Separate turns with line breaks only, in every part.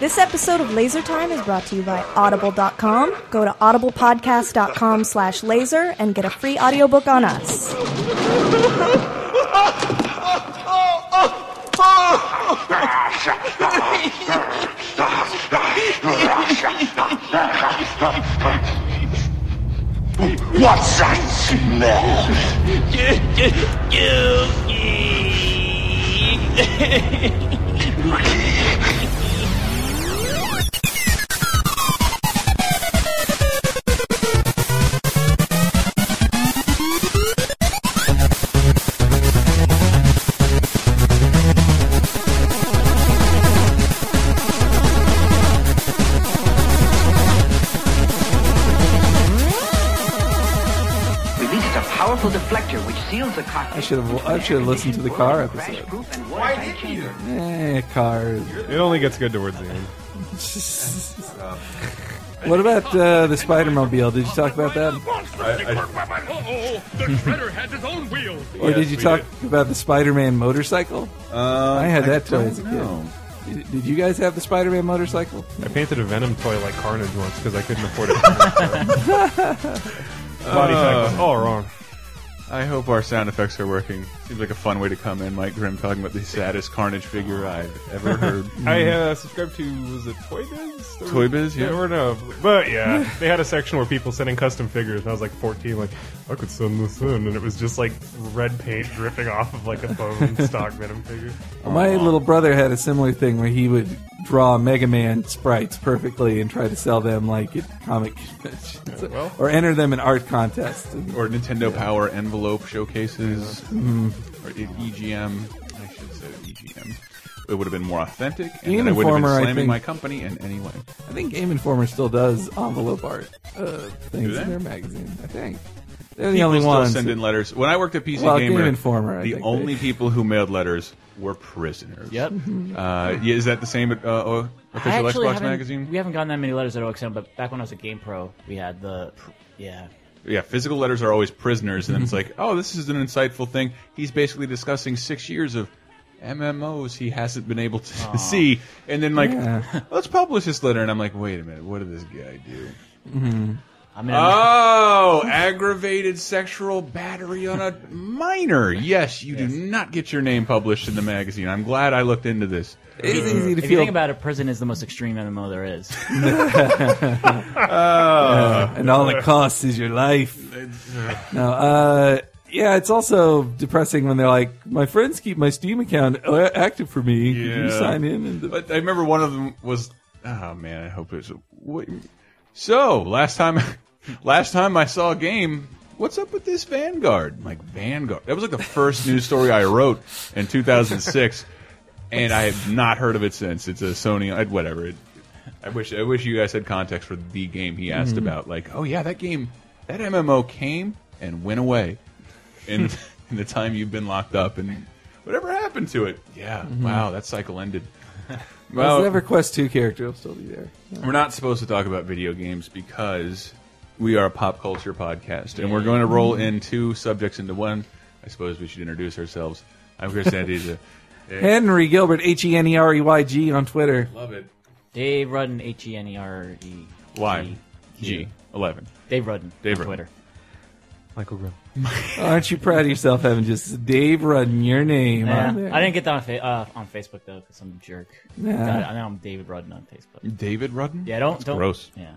This episode of Laser Time is brought to you by Audible.com. Go to audiblepodcast.com slash laser and get a free audiobook on us.
What's that smell?
releases a powerful deflector which seals the cockpit.
I should have. I should have listened to the car episode.
Proof and watertight chamber.
Eh, cars.
It only gets good towards the end.
What about uh, the Spider Mobile? Did you talk about
Oh,
that,
Uh-oh, the shredder has his own wheels.
or did
Yes,
you
we
talk about the Spider Man motorcycle?
Um,
I had that toy
don't
as a kid.
know.
Did did you guys have the Spider Man motorcycle?
I painted a Venom toy like Carnage once because I couldn't afford it. Body cycle. Uh, All wrong.
I hope our sound effects are working. Seems like a fun way to come in, Mike Grimm, talking about the saddest Carnage figure I've ever heard.
I uh, subscribed to was it Toy Biz? There
Toy
were-
Biz, yeah.
There were no, but yeah, they had a section where people sent in custom figures, and I was like 14, like I could send this in, and it was just like red paint dripping off of like a bone stock Venom figure.
My little brother had a similar thing where he would draw Mega Man sprites perfectly and try to sell them like at comic conventions
well.
or enter them in art contests. And
or Nintendo Power envelope showcases,
Mm-hmm.
or E- EGM. I should say EGM. It would have been more authentic, and
Game
then I would have been
Informer, I
slamming
think-
my company in any way.
I think Game Informer still does envelope art uh, things
they?
in their magazine. I think they're the
People
only
still
ones.
send in letters. When I worked at PC
Well, Game
Gamer,
Informer, I
the
think they-
only people who mailed letters were prisoners.
Yep.
Uh, yeah, is that the same at uh, uh, official
Mm-hmm. I actually
Xbox
haven't-
magazine?
We haven't gotten that many letters at OXM, but back when I was at Game Pro, we had the yeah.
Yeah, physical letters are always prisoners, and then it's like, oh, this is an insightful thing. He's basically discussing six years of MMOs he hasn't been able to see, and then like,
Yeah.
let's publish this letter, and I'm like, wait a minute, what did this guy do?
I mean,
Oh, aggravated sexual battery on a minor. Yes, you do not get your name published in the magazine. I'm glad I looked into this.
It's easy to
if you
feel
think about it, prison is the most extreme MMO there is.
and all
Uh,
it costs is your life. No, uh, yeah, it's also depressing when they're like, my friends keep my Steam account uh, active for me. Could you
Yeah.
sign in? And the,
But I remember one of them was. Oh man, I hope it's. What, so last time, last time I saw a game. What's up with this Vanguard? I'm like Vanguard. That was like the first news story I wrote in 2006, and I have not heard of it since. It's a Sony. I- Whatever. It, I wish. I wish you guys had context for the game he asked about. Like, oh yeah, that game, that MMO came and went away, in in the time you've been locked up, and whatever happened to it? Yeah. Wow, that cycle ended.
well,
Well,
whatever Quest 2 character will still be there.
we're not supposed to talk about video games because we are a pop culture podcast, and we're going to roll in two subjects into one. I suppose we should introduce ourselves. I'm Chris Antiza.
Henry Gilbert, H E N E R E Y G on Twitter.
Love it.
Dave Rudden, H E N E R E.
Y G eleven.
Dave Rudden.
Dave
on
Rudden.
Twitter.
Michael Grimm.
Aren't you proud of yourself having just Dave Rudden, your name
Yeah.
on there?
I didn't get that on, fa- uh, on Facebook though, because I'm a jerk.
Yeah.
God, I know I'm David Rudden on Facebook.
David Rudden.
Yeah, don't don't.
gross.
Yeah,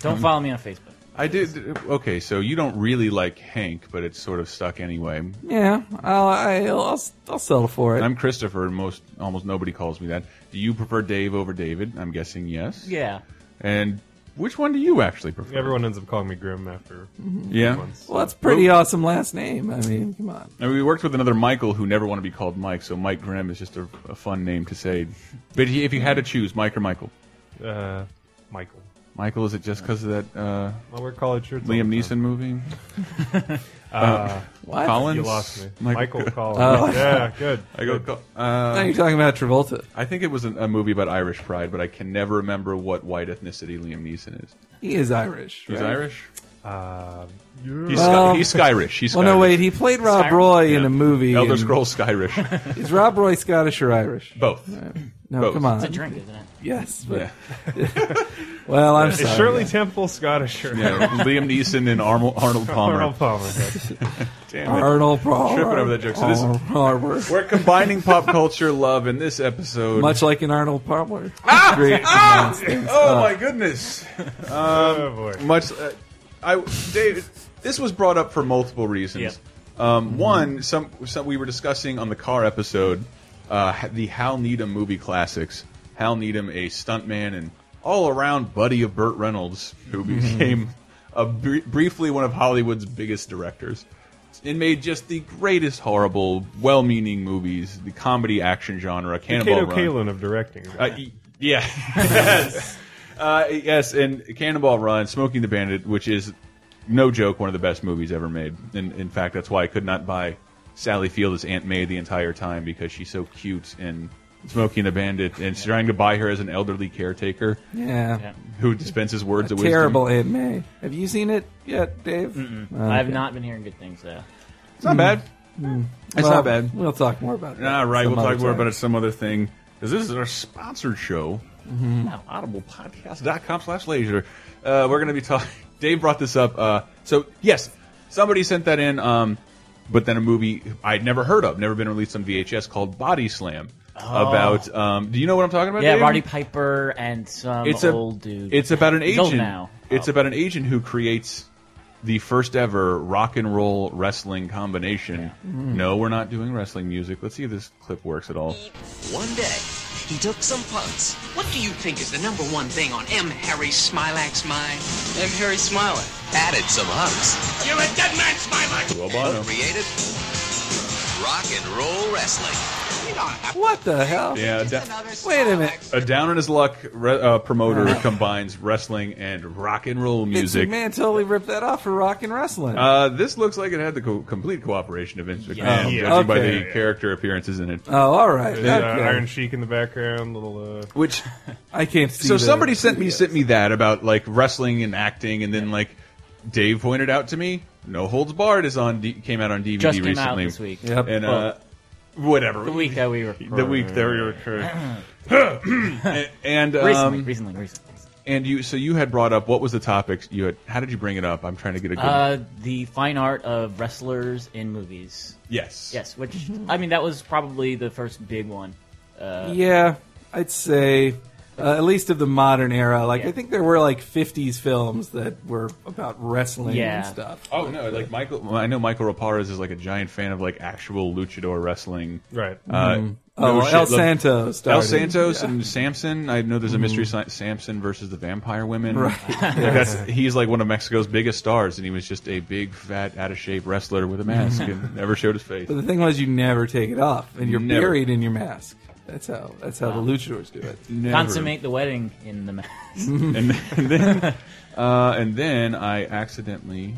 don't follow me on Facebook.
I did. Okay, so you don't really like Hank, but it's sort of stuck anyway.
Yeah, I'll, I'll, I'll, I'll settle for it.
I'm Christopher. and Most almost nobody calls me that. Do you prefer Dave over David? I'm guessing yes.
Yeah,
And which one do you actually prefer?
Everyone ends up calling me Grim after
Yeah.
once.
well, that's a pretty awesome last name. I mean, come on.
And we worked with another Michael who never wanted to be called Mike, so Mike Grimm is just a, a fun name to say. But he, if you had to choose, Mike or Michael?
Uh, Michael.
Michael, is it just because of that uh,
I wear college shirts. all
Liam
the
Neeson
time.
movie?
Uh,
What?
Collins?
you lost me.
Mike-
Michael Collins.
Oh.
Yeah, good.
I go. Col-
Now
Uh,
you're talking about Travolta.
I think it was an, a movie about Irish pride, but I can never remember what white ethnicity Liam Neeson is.
He is Irish.
He's
right?
Irish.
Uh,
He's,
Well-
Sky, he's Skyrish. He's Skyrish.
Well, no, wait. He played Rob
Skyrim?
Roy in a movie.
Elder
and-
Scrolls Skyrish.
Is Rob Roy Scottish or Irish?
Both.
No,
Both.
come on.
It's a drink, isn't it?
Yes, but
Yeah.
well, I'm
it's
sorry.
Shirley Temple Scottisher.
Yeah, Liam Neeson and Arnold, Arnold Palmer.
Arnold Palmer.
Damn it.
Arnold Palmer.
Tripping over that joke. So this-
Arnold Palmer.
We're combining pop culture love in this episode.
Much like an Arnold Palmer.
Ah!
Great announcement.
oh my goodness.
oh boy.
Much. Uh, I David. This was brought up for multiple reasons. Um, One, some, some we were discussing on the car episode, uh, the Hal Needham movie classics. Hal Needham, a stuntman and all around buddy of Burt Reynolds, who became a, br briefly one of Hollywood's biggest directors. And made just the greatest horrible, well-meaning movies, the comedy action genre, Cannonball
Kato
Run.
Kalin of directing.
Uh, y- yeah. yes. Uh, yes, and Cannonball Run, Smoking the Bandit, which is no joke, one of the best movies ever made. And in fact, that's why I could not buy Sally Field as Aunt May the entire time because she's so cute in Smoking the Bandit, and she's trying to buy her as an elderly caretaker
Yeah.
who dispenses words of wisdom.
Terrible Aunt May. Have you seen it yet, Dave?
I have not been hearing good things though.
It's not bad. It's
Well,
not bad.
We'll talk more about it.
All right,
some
we'll talk
other
more
time.
about it some other thing. Because this is our sponsored show.
Mm-hmm.
audiblepodcast.com slash laser. Uh, we're going to be talking. Dave brought this up. Uh, so, yes, somebody sent that in, um, but then a movie I'd never heard of, never been released on VHS called Body Slam. About, um, do you know what I'm talking about?
Oh. Yeah,
Dave?
Roddy Piper and some
it's
old
a,
dude.
It's about an
He's
agent.
old now. Oh,
It's about an agent who creates the first ever rock and roll wrestling combination.
Mm.
No, we're not doing wrestling music. Let's see if this clip works at all.
One day, he took some punts. What do you think is the number one thing on M. Harry Smilak's mind? M. Harry Smilak added some humps. You're a dead man, Smilak!
Well, Bono.
Created rock and roll wrestling. You don't have
What the hell?
Yeah, a da-
Wait a minute.
a down in his luck re uh, promoter combines wrestling and rock and roll music.
Uh-huh. Vince McMahon totally ripped that off for rock and wrestling.
Uh, this looks like it had the co complete cooperation of Vince McMahon,
Yeah.
judging
Okay.
by the
Yeah, yeah.
character appearances in it.
oh, all right.
There's, uh,
Okay.
Iron Sheik in the background. Little. Uh,
Which
I can't see.
so
the-
somebody sent me sent me that about like wrestling and acting, and then like Dave pointed out to me, No Holds Barred is on D came out on DVD
just came
recently.
out this week.
Yep.
and uh, whatever
The week that we were.
the week there we were. and um,
Recently, recently, recently.
And you, so you had brought up what was the topic you had? How did you bring it up? I'm trying to get a good.
Uh, the fine art of wrestlers in movies.
yes.
Yes, which I mean that was probably the first big one.
uh, Yeah, I'd say uh, at least of the modern era. Like
Yeah.
I think there were like '50s films that were about wrestling and
Yeah.
stuff.
Oh no! Like Michael, I know Michael Raparez is like a giant fan of like actual luchador wrestling.
right.
Uh,
Oh,
no
well,
shit,
El
look,
Santo. Started.
El Santos and Samson. I know there's a mystery si Samson versus the Vampire Women.
Right.
Like that's, he's like one of Mexico's biggest stars, and he was just a big, fat, out of shape wrestler with a mask and never showed his face.
But the thing was, you never take it off, and you're
Never.
buried in your mask. That's how. That's how the luchadors do it.
Never.
Consummate the wedding in the mask.
and then uh, and then I accidentally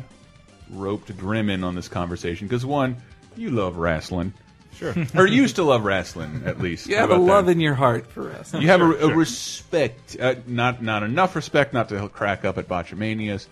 roped Grim in on this conversation because one, you love wrestling,
Sure.
or used to love wrestling at least.
You
How
have a
about that?
love in your heart for wrestling.
You have a, a respect, uh, not not enough respect, not to crack up at botchamanias,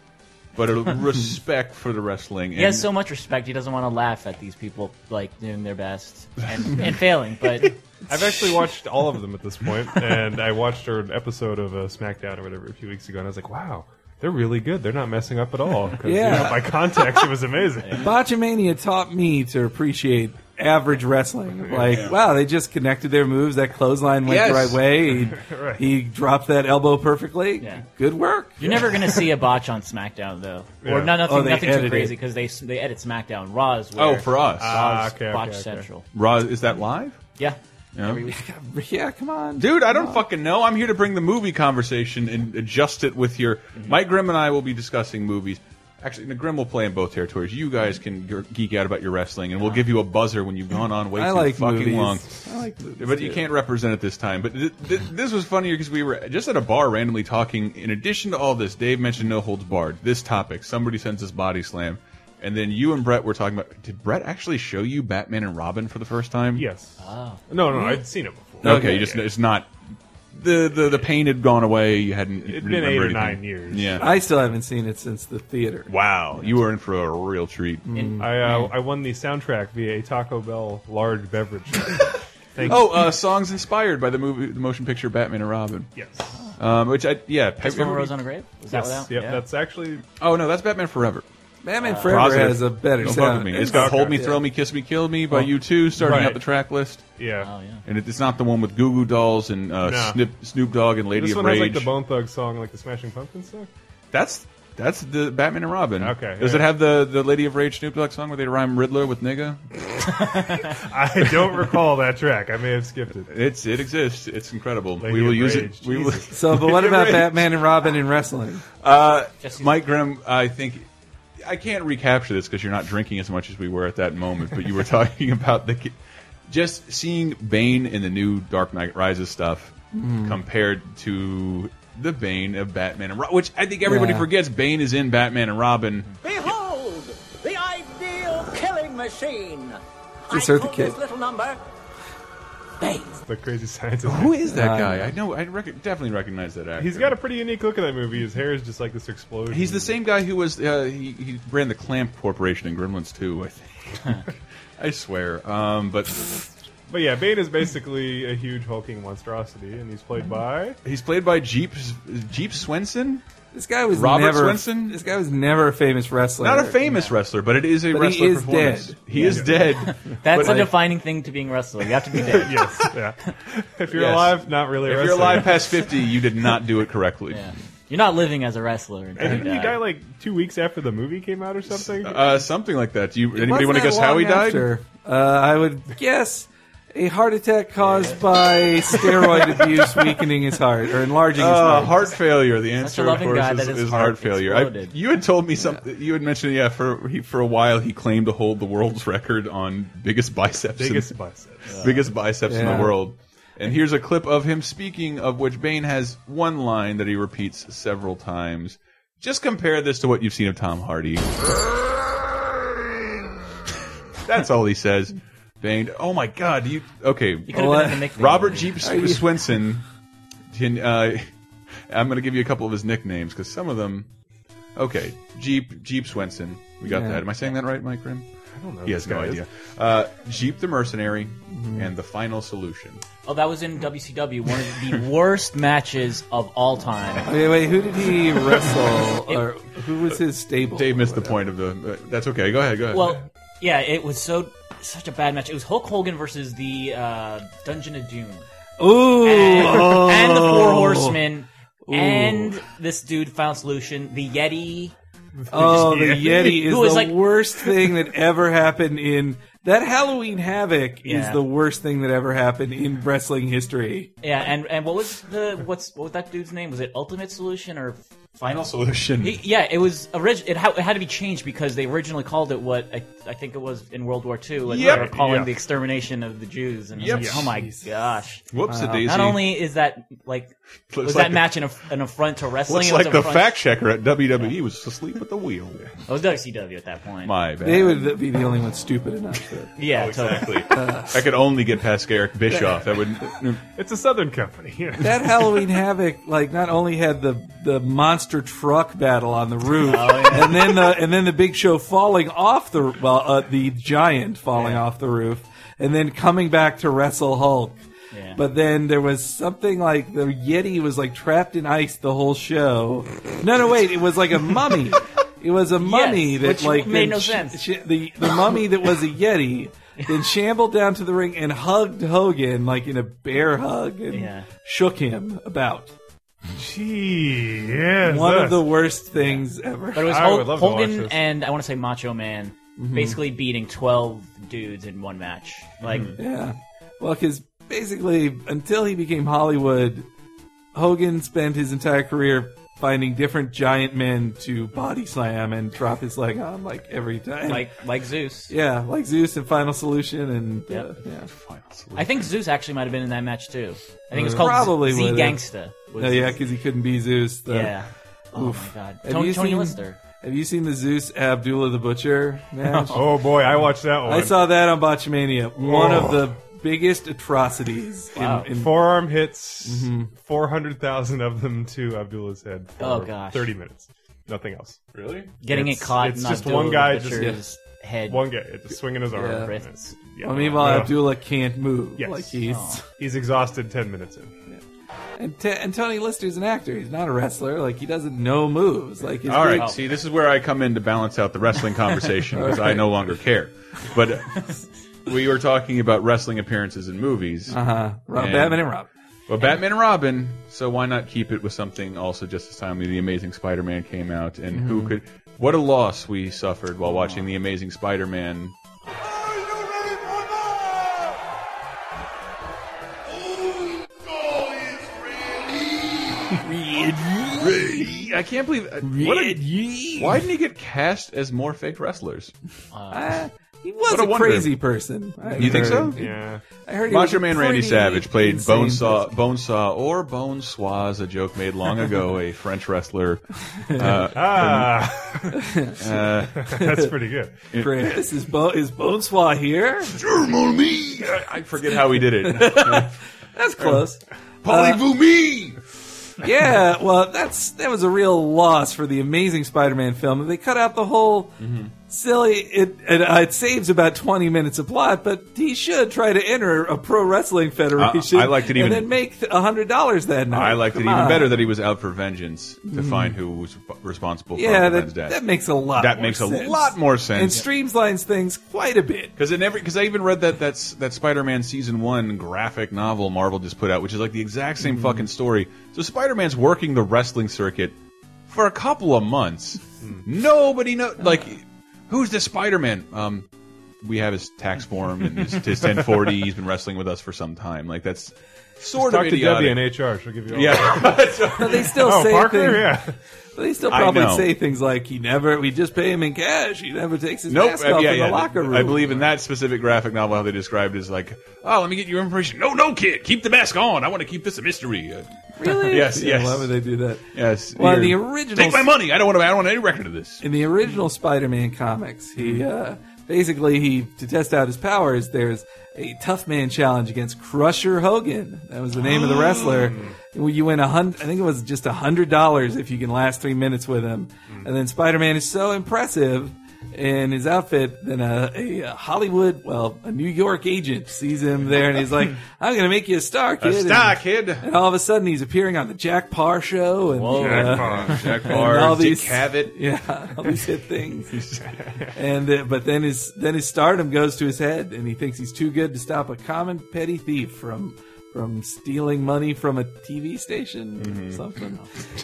but a respect for the wrestling.
He has so much respect. He doesn't want to laugh at these people like doing their best and, and failing. But
I've actually watched all of them at this point, and I watched an episode of uh, SmackDown or whatever a few weeks ago, and I was like, wow, they're really good. They're not messing up at all. 'Cause, you
Yeah.
know, by context, it was amazing.
Botchamania taught me to appreciate average wrestling. Like, wow, they just connected their moves. That clothesline went
Yes.
the right way. He,
Right.
he dropped that elbow perfectly.
Yeah.
Good work.
You're never gonna see a botch on SmackDown though,
Yeah.
or not, nothing,
Oh, they
nothing
edit
too
it.
crazy because they they edit SmackDown. Raw is where
Oh, for us,
Ah,
Raw's
okay, okay,
botch
okay.
central.
Raw is that live,
Yeah,
Yeah.
every week.
Yeah, come on.
dude? I don't fucking know. I'm here to bring the movie conversation and adjust it with your.
Mm-hmm.
Mike Grimm and I will be discussing movies. Actually, the Grimm will play in both territories. You guys can g- geek out about your wrestling, and we'll give you a buzzer when you've gone on way
I
too
like
fucking
movies.
long.
I like movies.
But you
too.
can't represent it this time. But th th this was funnier because we were just at a bar randomly talking. In addition to all this, Dave mentioned no holds barred. This topic, somebody sends us body slam, and then you and Brett were talking about. Did Brett actually show you Batman and Robin for the first time? Mm-hmm.
Yes. No, no, I'd seen it before.
Okay, you just it's not the, the the pain had gone away. You hadn't.
It'd been eight or nine years.
Yeah.
I still haven't seen it since the theater.
wow, you were in for a real treat. Mm-hmm.
Mm.
I uh, I won the soundtrack via a Taco Bell large beverage. Thank
Oh, uh, songs inspired by the movie, the motion picture Batman and Robin.
yes,
Um, which I yeah.
That's
have
from
you ever-
Rose on a Grave? Was that
yes,
without?
yep, That's actually
oh no, that's Batman Forever.
Batman Forever
Uh, Positive.
has a better
Don't fuck
sound.
with me. It's got
Okay.
Hold Me, Throw Me, Kiss Me, Kill Me by you U2, starting
Right.
out the track list.
yeah.
Oh, yeah.
And it, it's not the one with Goo Goo Dolls and uh,
No.
Snip, Snoop Dogg and Lady
This
of
one
Rage.
has like the Bone Thugs song, like the Smashing Pumpkins song.
That's that's the Batman and Robin.
Okay,
Does
yeah.
it have the the Lady of Rage Snoop Dogg song where they rhyme Riddler with nigga?
I don't recall that track. I may have skipped it.
It's it exists. It's incredible.
Lady
we will
of
use
Rage,
it. We will.
Jesus.
So, but what
You're
about
right.
Batman and Robin in wrestling?
Uh,
Just-
Mike Grimm, I think I can't recapture this because you're not drinking as much as we were at that moment. But you were talking about the just seeing Bane in the new Dark Knight Rises stuff
Hmm.
compared to the Bane of Batman and Robin, which I think everybody
Yeah.
forgets. Bane is in Batman and Robin.
Behold, the ideal killing machine.
Just
I
hurt the
call
kid.
This little number. Bane.
The crazy scientist.
Who is that guy? Ah, I know. I rec definitely recognize that actor.
He's got a pretty unique look in that movie. His hair is just like this explosion.
He's the same guy who was uh, he, he ran the Clamp Corporation in Gremlins 2, I think. I swear. Um, but
But yeah, Bane is basically a huge hulking monstrosity, and he's played by
he's played by Jeep Jeep Swenson.
This guy was
Robert
never,
Swenson?
This guy was never a famous wrestler.
Not a famous wrestler, but it is a
But he
wrestler
is
performance.
dead.
He is dead.
That's
But,
a
like,
defining thing to being a wrestler. You have to be dead.
yes. Yeah. If you're
Yes.
alive, not really. a
If you're
wrestler.
alive past 50, you did not do it correctly.
Yeah. You're not living as a wrestler. until
And
you
didn't he
die.
die like two weeks after the movie came out or something?
Uh, something like that. Do you, anybody
Wasn't
want to
that
guess how
long
he died?
after? Uh, I would guess a heart attack caused by steroid abuse weakening his heart or enlarging his
Uh,
heart.
heart failure. The answer, of
loving
course,
guy
is,
that his
is
heart
heart failure. I,
exploded.
you had told me something. You had mentioned, yeah, for he, for a while he claimed to hold the world's record on biggest biceps, in-
Biggest biceps.
biggest biceps in
Yeah.
the world. And here's a clip of him speaking, of which Bane has one line that he repeats several times. Just compare this to what you've seen of Tom Hardy. That's all he says. Bane. Oh my God! do You okay?
You could have been in the Mick
Robert
movie.
Jeep Swenson. Can, uh, I'm going to give you a couple of his nicknames because some of them. Okay, Jeep Jeep Swenson. We got
Yeah.
that. Am I saying that right, Mike Grimm? I don't
know
He
who
has
this
no
guy is. Mm-hmm.
idea. Uh, Jeep the Mercenary and the Final Solution.
Oh, that was in WCW. One of the worst matches of all
Oh.
time.
Wait, wait, who did he wrestle? or who was his stable?
Dave missed the point of the. Uh, that's okay. Go ahead. Go ahead.
Well, yeah, it was so such a bad match. It was Hulk Hogan versus the uh, Dungeon of Doom
Ooh, oh,
and, and the Four Horsemen and this dude found solution. The Yeti.
oh, the Yeti is
Who is
the
like-
worst thing that ever happened in that Halloween Havoc is
Yeah.
the worst thing that ever happened in wrestling history.
Yeah, and and what was the what's what was that dude's name? Was it Ultimate Solution or
Final Solution.
He- yeah, it was original. It, ha- it had to be changed because they originally called it what I, I think it was in World War II. Like
Yep.
they were calling
Yeah.
the extermination of the Jews. And I was
Yep.
like, oh my gosh!
Whoops, a daisy.
Not only is that like
Looks
was
like
that
the-
match an, aff- an affront to wrestling?
looks
it was
like the
affront-
fact checker at WWE was asleep at the wheel.
It was WCW at that point.
My bad.
They would be the only ones stupid enough. To,
yeah,
Exactly.
totally.
I could only get past Eric Bischoff. That would
It's a Southern company. Yeah.
that Halloween Havoc, like, not only had the the monster truck battle on the roof,
Oh,
and then the and then the Big Show falling off the well, uh, the giant falling off the roof, and then coming back to wrestle Hulk.
Yeah.
But then there was something like the Yeti was like trapped in ice the whole show. No, no, wait, it was like a mummy. It was a mummy that
which
like
made
then
no
sh-
sense.
sh- the the mummy that was a yeti then shambled down to the ring and hugged Hogan like in a bear hug and
Yeah.
shook him about.
Gee, yes.
One of
that's-
the worst things ever.
But it was
I
Hol-
would love to watch
Hogan
this.
and I want to say Macho Man basically beating twelve dudes in one match. Like
Yeah. Well, because basically, until he became Hollywood, Hogan spent his entire career finding different giant men to body slam and drop his leg on, like every time.
like like Zeus.
yeah, like Zeus and Final Solution, and uh,
Yep.
yeah.
I think Zeus actually might have been in that match too. I think it was called
Probably
Z
would've.
Gangsta. was-
No, yeah, because he couldn't be Zeus. The,
Yeah. Oh my god.
Have
Tony,
you
Tony
seen-
Lister.
Have you seen the Zeus Abdullah the Butcher match?
Oh,
Oh boy, I watched that one.
I saw that on Botchmania. One of the biggest atrocities in, in
Forearm hits, 400,000 of them to Abdullah's head for
Oh, gosh.
30 minutes. Nothing else. Really?
Getting it caught.
It's
and
just
Abdullah
one guy,
Butcher's
just
head.
one guy, just swinging his arm.
Yeah.
And it's- yeah,
Well, meanwhile,
no.
Abdullah can't move.
Yes.
Like he's
Oh.
He's exhausted 10 minutes in.
and, t- and Tony Lister's an actor. He's not a wrestler. Like he doesn't know moves. Like he's
All
doing-
right. See, this is where I come in to balance out the wrestling conversation because I no longer care. But uh, we were talking about wrestling appearances in movies.
Uh-huh. Rob,
And-
Batman and Rob.
Well, Batman and Robin. So why not keep it with something also just as timely? The Amazing Spider-Man came out, and who could? What a loss we suffered while watching The Amazing Spider-Man. I can't believe uh, what a, why didn't he get cast as more fake wrestlers?
Uh, he was
What a
a,
wonder.
crazy person. I
You think so?
heard.
Yeah.
I heard he was
Macho
a
Man Randy
pretty
Savage played
insane
Bonesaw, Bonesaw or Bonesaw, is a joke made long ago, a French wrestler. Uh,
Ah,
uh,
that's pretty good.
Chris, is, Bo- is Bonesaw here?
I forget how he did it.
That's close.
Polyvoo me!
yeah, well, that's that was a real loss for the Amazing Spider-Man film. They cut out the whole
Mm-hmm.
silly. It it, uh, it saves about twenty minutes of plot, but he should try to enter a pro wrestling federation.
I- I liked it even-
and then make hundred dollars that night.
I liked it
Come
even
on.
better that he was out for vengeance to find who was responsible for
Yeah,
Uncle Ben's
that,
death.
that makes a lot.
That
more
makes a
sense.
lot more sense.
and streamlines things quite a bit.
Because in every, because I even read that that's that Spider-Man season one graphic novel Marvel just put out, which is like the exact
Mm-hmm.
same fucking story. So Spider-Man's working the wrestling circuit for a couple of months.
Hmm.
Nobody know, like, who's this Spider-Man? Um, we have his tax form and his, his 1040. He's been wrestling with us for some time. Like that's sort
Talk
of
to Debbie in
idiotic.
HR. She'll give you all
yeah,
But they still
Oh,
say
Parker?
things.
Yeah.
They still
I
probably
know.
say things like he never. We just pay him in cash. He never takes his
Nope.
mask
uh,
off
yeah,
in
yeah.
the locker room.
I believe in that specific graphic novel how they described it is like, oh, let me get your information. No, no, kid, keep the mask on. I want to keep this a mystery. Uh,
Really?
Yes,
Yeah,
yes.
Why would they do that?
yes.
Well, in the
here.
original,
Take my money. I don't want to. I don't want any record of this.
in the original Spider-Man comics, he
Mm-hmm.
uh, basically he to test out his powers. There's a tough man challenge against Crusher Hogan. That was the name of the wrestler.
Ah.
Well, You win a hundred. I think it was just a hundred dollars if you can last three minutes with him.
Mm.
And then Spider-Man is so impressive in his outfit, then a, a Hollywood, well, a New York agent sees him there, and he's like, "I'm going to make you a star, kid." And-
Star kid.
And all of a sudden, he's appearing on the Jack Parr show, and uh,
Jack
and
Barr, Dick Cavett.
yeah, all these hit things. and uh, but then his then his stardom goes to his head, and he thinks he's too good to stop a common petty thief from from stealing money from a TV station
Mm-hmm.
or something.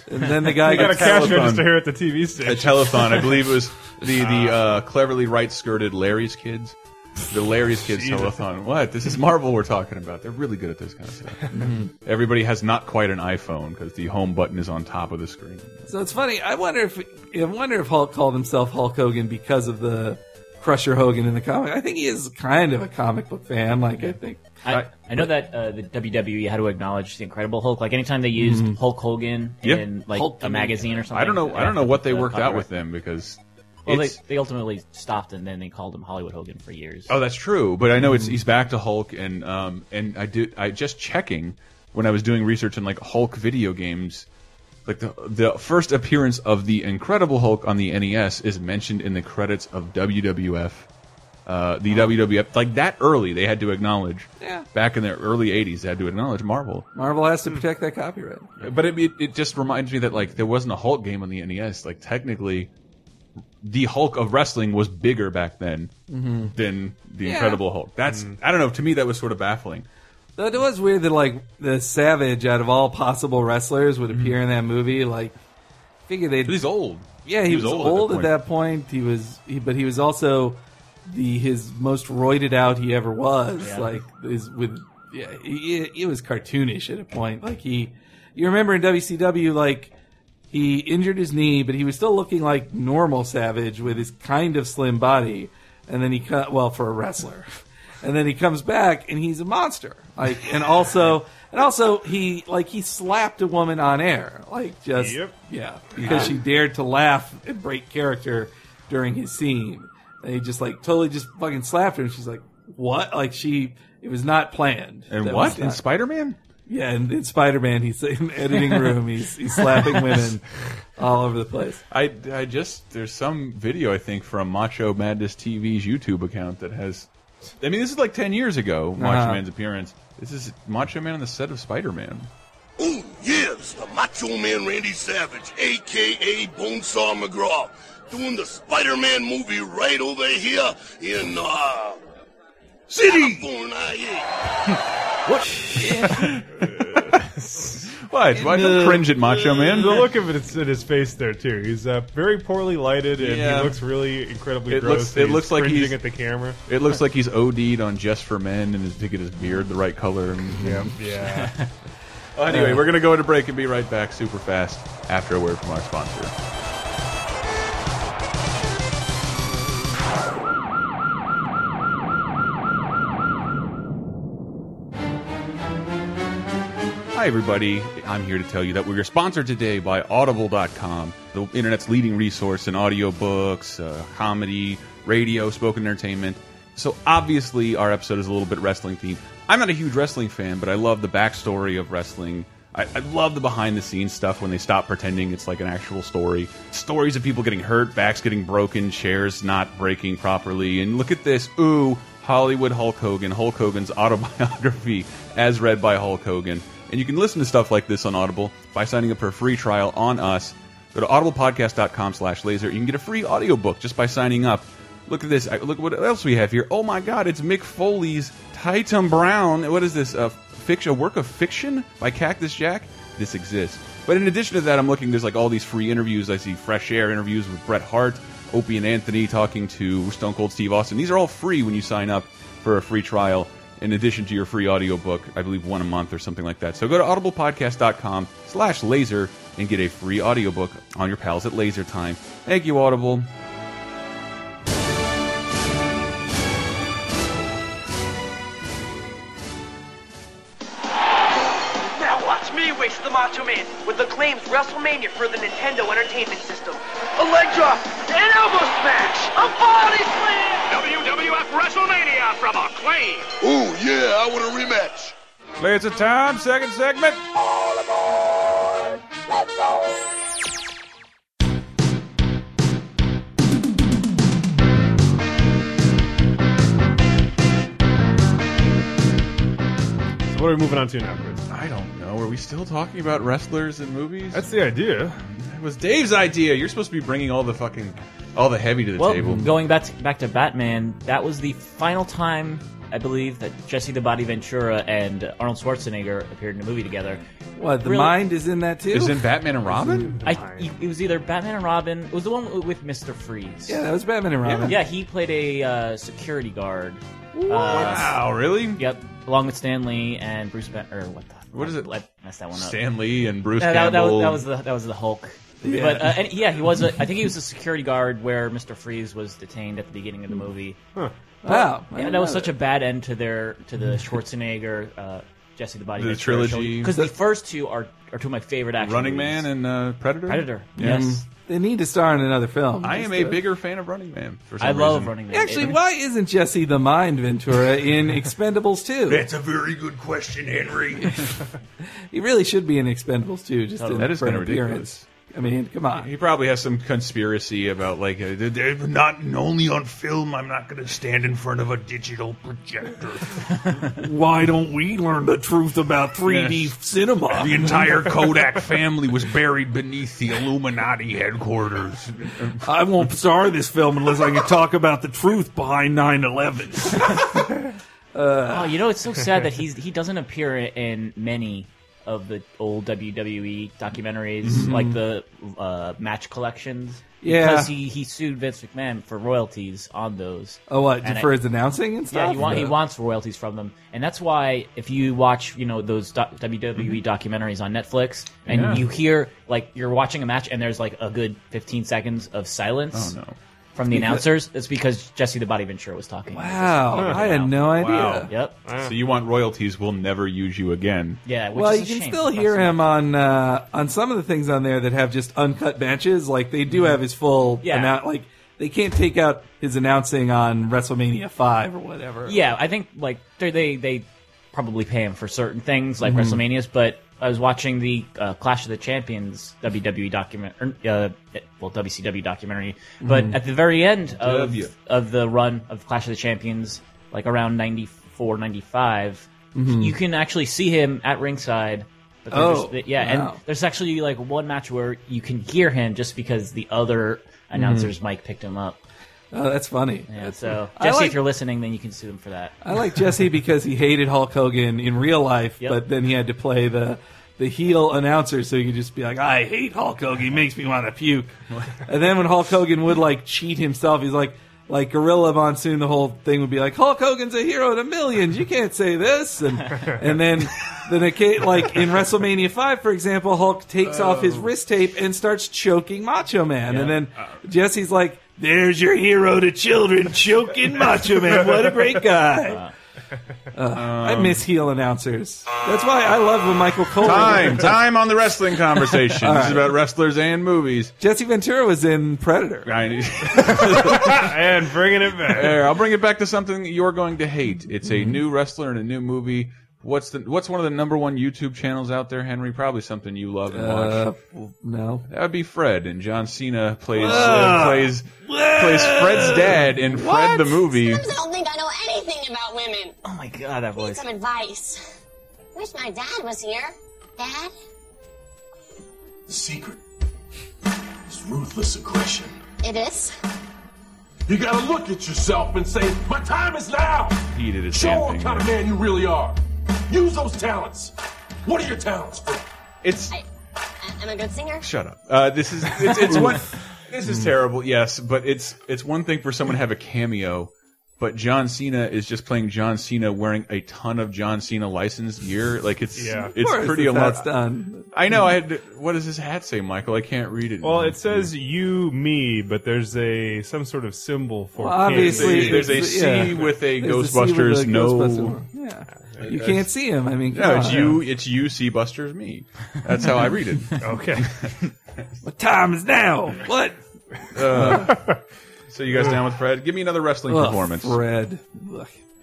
And then the guy
I got a
gets
cash
telephone.
register here at the TV
A
station.
telethon. I believe it was the the uh, cleverly right skirted Larry's kids. The Larry's kids telethon. What? This is Marvel we're talking about. They're really good at this kind of stuff. Everybody has not quite an iPhone because the home button is on top of the screen.
So it's funny. I wonder if I wonder if Hulk called himself Hulk Hogan because of the Crusher Hogan in the comic. I think he is kind of a comic book fan. Like I think.
I, I know that uh, the WWE had to acknowledge the Incredible Hulk. Like anytime they used Hulk Hogan
Mm-hmm. Yeah.
in like
Hulk
a magazine or something.
I don't know. I
yeah,
don't know what they
the
worked out
copyright.
with them because.
Well, they,
it's-
they ultimately stopped and then they called him Hollywood Hogan for years.
Oh, that's true. But I know it's he's back to Hulk, and um, and I did I just checking when I was doing research on like Hulk video games, like the the first appearance of the Incredible Hulk on the NES is mentioned in the credits of WWF. Uh, the WWF like that early they had to acknowledge.
Yeah.
Back in the early '80s, they had to acknowledge Marvel.
Marvel has to protect that copyright.
But it, it it just reminds me that like there wasn't a Hulk game on the NES. Like technically, the Hulk of wrestling was bigger back then than the Incredible Hulk. That's I don't know. To me, that was sort of baffling.
Though it was weird that like the Savage out of all possible wrestlers would appear in that movie. Like, figure they'd
He's old.
yeah he, was, old, at, that point. He was, he, but he was also the his most roided out he ever was.
Yeah.
Like is with yeah, he, he was cartoonish at a point. Like he, you remember in WCW like. He injured his knee, but he was still looking like normal Savage with his kind of slim body. And then he cut well for a wrestler. And then he comes back and he's a monster. Like and also and also he like he slapped a woman on air. Like just
Yep.
yeah, because she dared to laugh and break character during his scene. And he just like totally just fucking slapped her and she's like what? Like she, it was not planned.
And
That
what
was
in
not-
Spider Man?
yeah, and in Spider Man, he's in the editing room. He's he's slapping women all over the place.
I, I just there's some video I think from Macho Madness TV's YouTube account that has. I mean, this is like ten years ago. Macho Man's appearance. This is Macho Man on the set of Spider Man.
Ooh, yes, the Macho Man Randy Savage, aka Bonesaw McGraw, doing the Spider-Man movie right over here in uh City California. yeah.
Why? Why don't cringe at Macho Man?
The look of it is in his face there too. He's uh, very poorly lighted, and
Yeah.
he looks really incredibly
It
gross.
looks-
and
it looks like
cringing
he's-
at the camera.
It looks like he's OD'd on Just for Men and is to get his beard the right color. And,
Yeah.
Oh, anyway, we're gonna go to break and be right back super fast after a word from our sponsor. Hi, everybody. I'm here to tell you that we're sponsored today by Audible.com, the internet's leading resource in audiobooks, uh, comedy, radio, spoken entertainment. So, obviously, our episode is a little bit wrestling themed. I'm not a huge wrestling fan, but I love the backstory of wrestling. I, I love the behind the scenes stuff when they stop pretending it's like an actual story. Stories of people getting hurt, backs getting broken, chairs not breaking properly. And look at this. Ooh, Hollywood Hulk Hogan, Hulk Hogan's autobiography, as read by Hulk Hogan. And you can listen to stuff like this on Audible by signing up for a free trial on us. Go to audiblepodcast.com slash laser. You can get a free audiobook just by signing up. Look at this. I- Look what else we have here. Oh my God, it's Mick Foley's Titan Brown. What is this? A, fiction, a work of fiction by Cactus Jack? This exists. But in addition to that, I'm looking, there's like all these free interviews. I see Fresh Air interviews with Bret Hart, Opie and Anthony talking to Stone Cold Steve Austin. These are all free when you sign up for a free trial in addition to your free audiobook, I believe one a month or something like that. So go to audiblepodcast.com slash laser and get a free audiobook on your pals at Laser Time. Thank you, Audible.
Now watch me waste the Macho Man with the claimed WrestleMania for the Nintendo Entertainment System. A leg drop, an elbow smash, a body slam!
WWF WrestleMania from Acclaim.
Ooh, yeah, I want a rematch.
Laser Time, second segment.
so what are we moving on to now, Chris?
I don't know. Are we still talking about wrestlers and movies?
That's the idea.
that was Dave's idea. You're supposed to be bringing all the fucking, all the heavy to the
Well,
table.
going back to, back to Batman, that was the final time I believe that Jesse the Body Ventura and Arnold Schwarzenegger appeared in a movie together.
What the
Really?
mind is in that too?
Is in Batman and Robin?
I, it was either Batman and Robin. It was the one with Mister Freeze.
yeah, that was Batman and Robin.
Yeah, he played a uh, security guard. Uh,
Wow, really?
yep, along with Stanley and Bruce Banner. What the?
What is it?
I messed that one up.
Stan Lee and Bruce
No, that, that
Campbell.
was, that was the that was the Hulk.
Yeah.
But uh, and, yeah, he was. A, I think he was a security guard where Mister Freeze was detained at the beginning of
Hmm.
the movie.
Wow, I
Yeah,
didn't
that was
know
such a bad end to their to the Schwarzenegger, uh, Jesse the Body
The trilogy.
Because the first two are are two of my favorite action
Running
movies.
Man and uh, Predator.
Predator.
Yeah. Mm.
Yes,
They need to star in another film.
I am
Just
a
do it.
bigger fan of Running Man. For some
I love
reason.
Running Man.
Actually,
It-
why isn't Jesse the Mind Ventura in Expendables 2?
That's a very good question, Henry.
He really should be in Expendables 2, just in,
Oh, That is
for an
kinda
appearance. I mean, come on.
He probably has some conspiracy about like uh, they're- they're not
Only on film, I'm not going to stand in front of a digital projector. Why don't we learn the truth about
3D
cinema? The entire Kodak family was buried beneath the Illuminati headquarters. I won't star in this film unless I can talk about the truth behind 9 11.
Oh, you know, it's so sad that he's he doesn't appear in many of the old WWE documentaries, like the uh, match collections.
Mm-hmm. Yeah.
because he, he sued Vince McMahon for royalties on those.
Oh, what?
And
for
I-
his announcing and stuff?
Yeah, he, want, he wants royalties from them, and that's why if you watch, you know, those doc-
Mm-hmm.
WWE E documentaries on Netflix, and you hear like you're watching a match, and there's like a good 15 seconds of silence
Oh,
no.
from the announcers, it's because Jesse the Body Ventura was talking.
Wow, I had no idea.
Wow.
Yep.
So you want royalties? We'll never use you again.
Yeah. Which
Well,
is
you
a
can
shame.
still hear him on uh, on some of the things on there that have just uncut matches. Like they do have his full,
Mm-hmm. Yeah.
annou- like they can't take out his announcing on WrestleMania five or whatever.
Yeah, I think like they they, they probably pay him for certain things like
Mhm.
WrestleManias, but I was watching the uh, Clash of the Champions WWE document, er, uh, well WCW documentary, but
Mm-hmm.
Mhm.
at the very end of
W.
of the run of Clash of the Champions, like around 94, 95,
Mm-hmm.
Mhm.
you can actually see him at ringside. But they're
Oh,
just- yeah,
wow.
and there's actually like one match where you can hear him just because the other announcer's
Mm-hmm.
mic picked him up.
Oh, that's funny.
Yeah,
That's
so
funny. I
Jesse,
like-
if you're listening, then you can sue him for that.
I like Jesse because he hated Hulk Hogan in real life,
Yep.
but then he had to play the the heel announcer, so he could just be like, "I hate Hulk Hogan; he makes me want to puke." and then when Hulk Hogan would like cheat himself, he's like, like Gorilla Monsoon, the whole thing would be like, "Hulk Hogan's a hero to millions. You can't say this." And and then then it ca- like in WrestleMania five, for example, Hulk takes off his wrist tape and starts choking Macho Man, and then Jesse's like. There's your hero to children, choking Macho Man. What a great guy! Uh, I
Um,
miss heel announcers. That's why I love when Michael Cole.
Time, time on the wrestling conversation.
All
This
right.
is about wrestlers and movies.
Jesse Ventura was in Predator.
and bringing it back. I'll bring it back to something you're going to hate. It's a new wrestler and a new movie. What's the What's one of the number one YouTube channels out there, Henry? Probably something you love and watch.
Uh, no,
that would be Fred, and John Cena plays
Whoa.
uh, plays plays Fred's dad in Fred the movie.
I don't think I know anything about women.
Oh my god, that
Need some advice. Wish my dad was here. Dad?
The secret is ruthless aggression.
It is.
You gotta look at yourself and say, My time is now!
He did his
Show
damn
what
thing.
kind of man you really are. Use those talents. What are your talents, Fred?
It's.
I- am a good singer?
Shut up. Uh, this is it's, it's one. This is terrible. Yes, but it's it's one thing for someone to have a cameo, but John Cena is just playing John Cena wearing a ton of John Cena licensed gear. Like it's
Yeah. Of
it's
course,
pretty
if
alo-
that's done.
I know. I had to, what does his hat say, Michael? I can't read it.
Well, it says you, me, but there's a some sort of symbol for
Well, obviously,
him.
there's a C with a Ghostbusters. no,
Yeah. You can't see him. I mean, come
no, it's
on.
you. It's you. See Buster's me. That's how I read it.
Okay.
what time is now? What?
Uh, so you guys down with Fred? Give me another wrestling
Ugh,
performance.
Fred.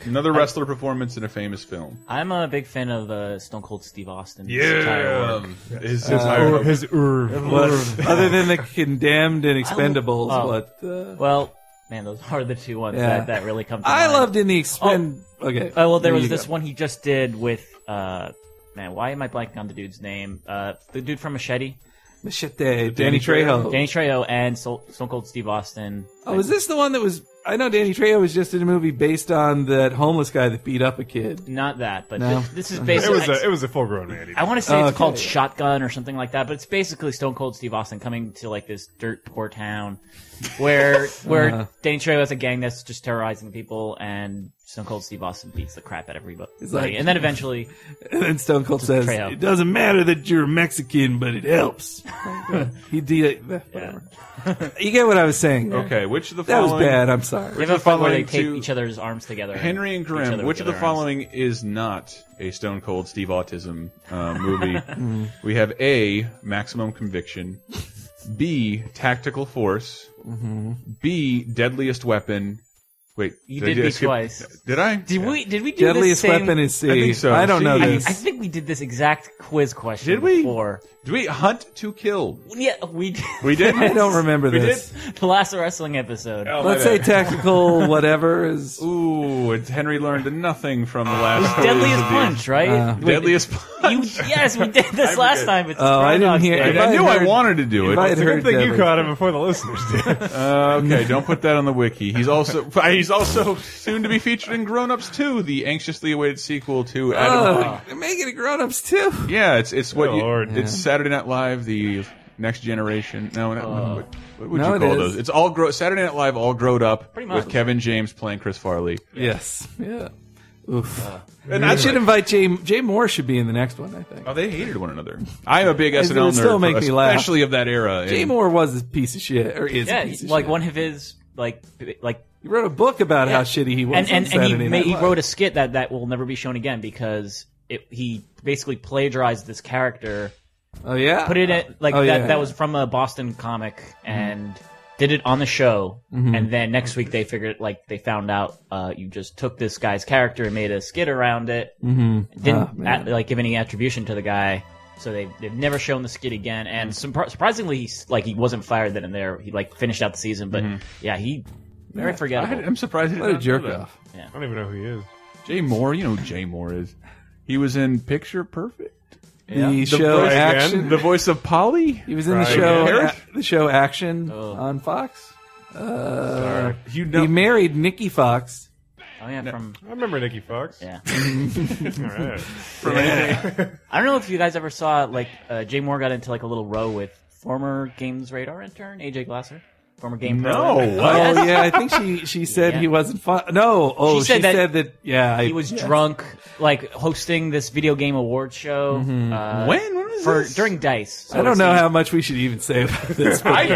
Another wrestler performance in a famous film.
I'm a big fan of uh, Stone Cold Steve Austin.
Yeah. Um, his- his Uh, ur- his ur-
What- other than the condemned and expendables,
Oh.
but
well, man, those are the two ones
Yeah.
that, that really come. To
I
mind.
loved in the expend-
Oh,
okay.
Oh well, there
There
was
you
this
go.
one he just did with uh, man. Why am I blanking on the dude's name? Uh, the dude from Machete.
Machete, Danny Trejo.
Danny Trejo, and Sol- Stone Cold Steve Austin.
Oh, is this the one that was? I know Danny Trejo was just in a movie based on that homeless guy that beat up a kid.
Not that, but
No.
thi- this is
It
basically
was a- it
was a full grown man.
I want to say
Oh,
it's
okay,
called
yeah.
Shotgun or something like that, but it's basically Stone Cold Steve Austin coming to like this dirt poor town where where
Uh-huh.
Danny Trejo has a gang that's just terrorizing people, and Stone Cold Steve Austin beats the crap out of everybody,
It's like-
and then eventually,
And then Stone Cold
Just
says,
Trejo.
"It doesn't matter that you're Mexican, but it helps." he did whatever. you get what I was saying? there.
Okay, which of the
that was
following-
bad. I'm sorry.
they have a fight where they
following
tape
two-
each other's arms together.
Henry and
beat each other
Grimm,
with
which of the
other arms.
following is not a Stone Cold Steve Autism uh,
Mm.
movie? we have A, Maximum Conviction, B, Tactical Force,
Mhm.
B, Deadliest Weapon. Wait,
You
I
did me
skip-
twice.
Did I?
Did we? Did we do
Deadliest
this same-
Weapon is C. I think so. I don't know
I-
this.
I, think we did this exact quiz question.
Did we?
Before.
Did we hunt to kill?
Yeah, we did.
We did? I don't remember We this.
The last wrestling episode.
Oh, my
Let's say
bad.
tactical whatever is.
Ooh, it's Henry learned nothing from the last. quiz
Deadliest
of the-
Punch, right?
Uh,
Wait,
deadliest punch.
You, yes, we did this last time. It's
Oh, I didn't hear-
Groundhog's Day.
I knew I wanted to do it.
It's a
It's a
good thing you caught it before the listeners did.
Uh, okay, don't put that on the wiki. He's also he's also soon to be featured in Grown Ups 2, the anxiously awaited sequel to Adam.
Oh, they're making it grown-ups too.
Yeah, it's it's what
Oh,
you,
Lord.
it's
Yeah.
Saturday Night Live, the next generation. No, Uh, no what, what would
No,
you
it
call
is.
those? It's all grow Saturday Night Live, all grown up
Pretty
with
much.
Kevin James playing Chris Farley.
Yes. Yeah. Oof.
And
and I
that's
should
like-
invite Jay. Jay Moore should be in the next one. I think.
Oh, they hated one another. I'm a big
It
SNL nerd,
would still make me laugh.
especially of that era.
Jay
And-
Moore was a piece of shit, or is
yeah,
a piece of
like
shit.
one of his like b- like
He wrote a book about
Yeah.
how shitty he was.
and and,
on
and he,
Saturday
ma-
Night
he
Live.
wrote a skit that that will never be shown again because it, he basically plagiarized this character.
Oh yeah,
put it in like
Oh,
that.
yeah.
That was from a Boston comic, and did it on the show,
Mhm.
and then next week they figured like they found out uh, you just took this guy's character and made a skit around it.
Mhm. Ah,
Didn't
man.
at- like give any attribution to the guy, so they they've never shown the skit again. And surpri- surprisingly, he's, like he wasn't fired then and there. He like finished out the season, but
Mm-hmm.
yeah, he very
Yeah.
forgettable.
I- I'm surprised he did What a not do jerk that. off.
Yeah.
I don't even know who he is.
Jay Moore, you know who Jay Moore is. He was in Picture Perfect.
The show
voice-
Action.
the voice of Polly.
He was in
Right.
the show
Eric?
a- the show Action
Oh.
on Fox. Uh,
Sorry.
You
he married Nikki Fox.
Oh yeah, from
I remember Nikki Fox.
Yeah.
All right.
I don't know if you guys ever saw like uh, Jay Moore got into like a little row with former Games Radar intern AJ Glasser, former Game Pro
No.
intern.
Oh
Yes.
yeah, I think she she said
Yeah.
he wasn't fun. No. Oh, she said, that, Yeah,
he
I-
was
yes.
drunk, like hosting this video game award show.
Mhm.
Uh,
When? When was
for
this?
during Dice?
I don't know how much we should even say about this. but-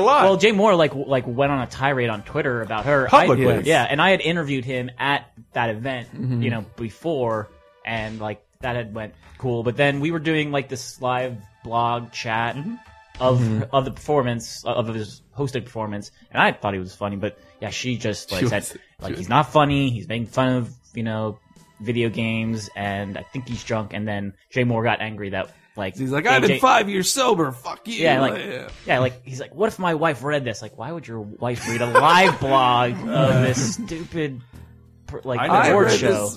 lot. Well, Jay Moore like w- like went on a tirade on Twitter about her
Publicly.
I-
Yes.
yeah, and I had interviewed him at that event,
Mhm.
you know, before, and like that had went cool. But then we were doing like this live blog chat
Mm-hmm.
of
Mhm.
of the performance of his hosted performance, and I thought he was funny, but yeah, she just like
She
said
was- she
like
was-
he's not funny. He's making fun of you know video games, and I think he's drunk. And then Jay Moore got angry that. Like
He's like, I've been
AJ
five years sober. Fuck you.
yeah, like yeah, like he's like, what if my wife read this? Like, why would your wife read a live blog of this stupid per- like award show?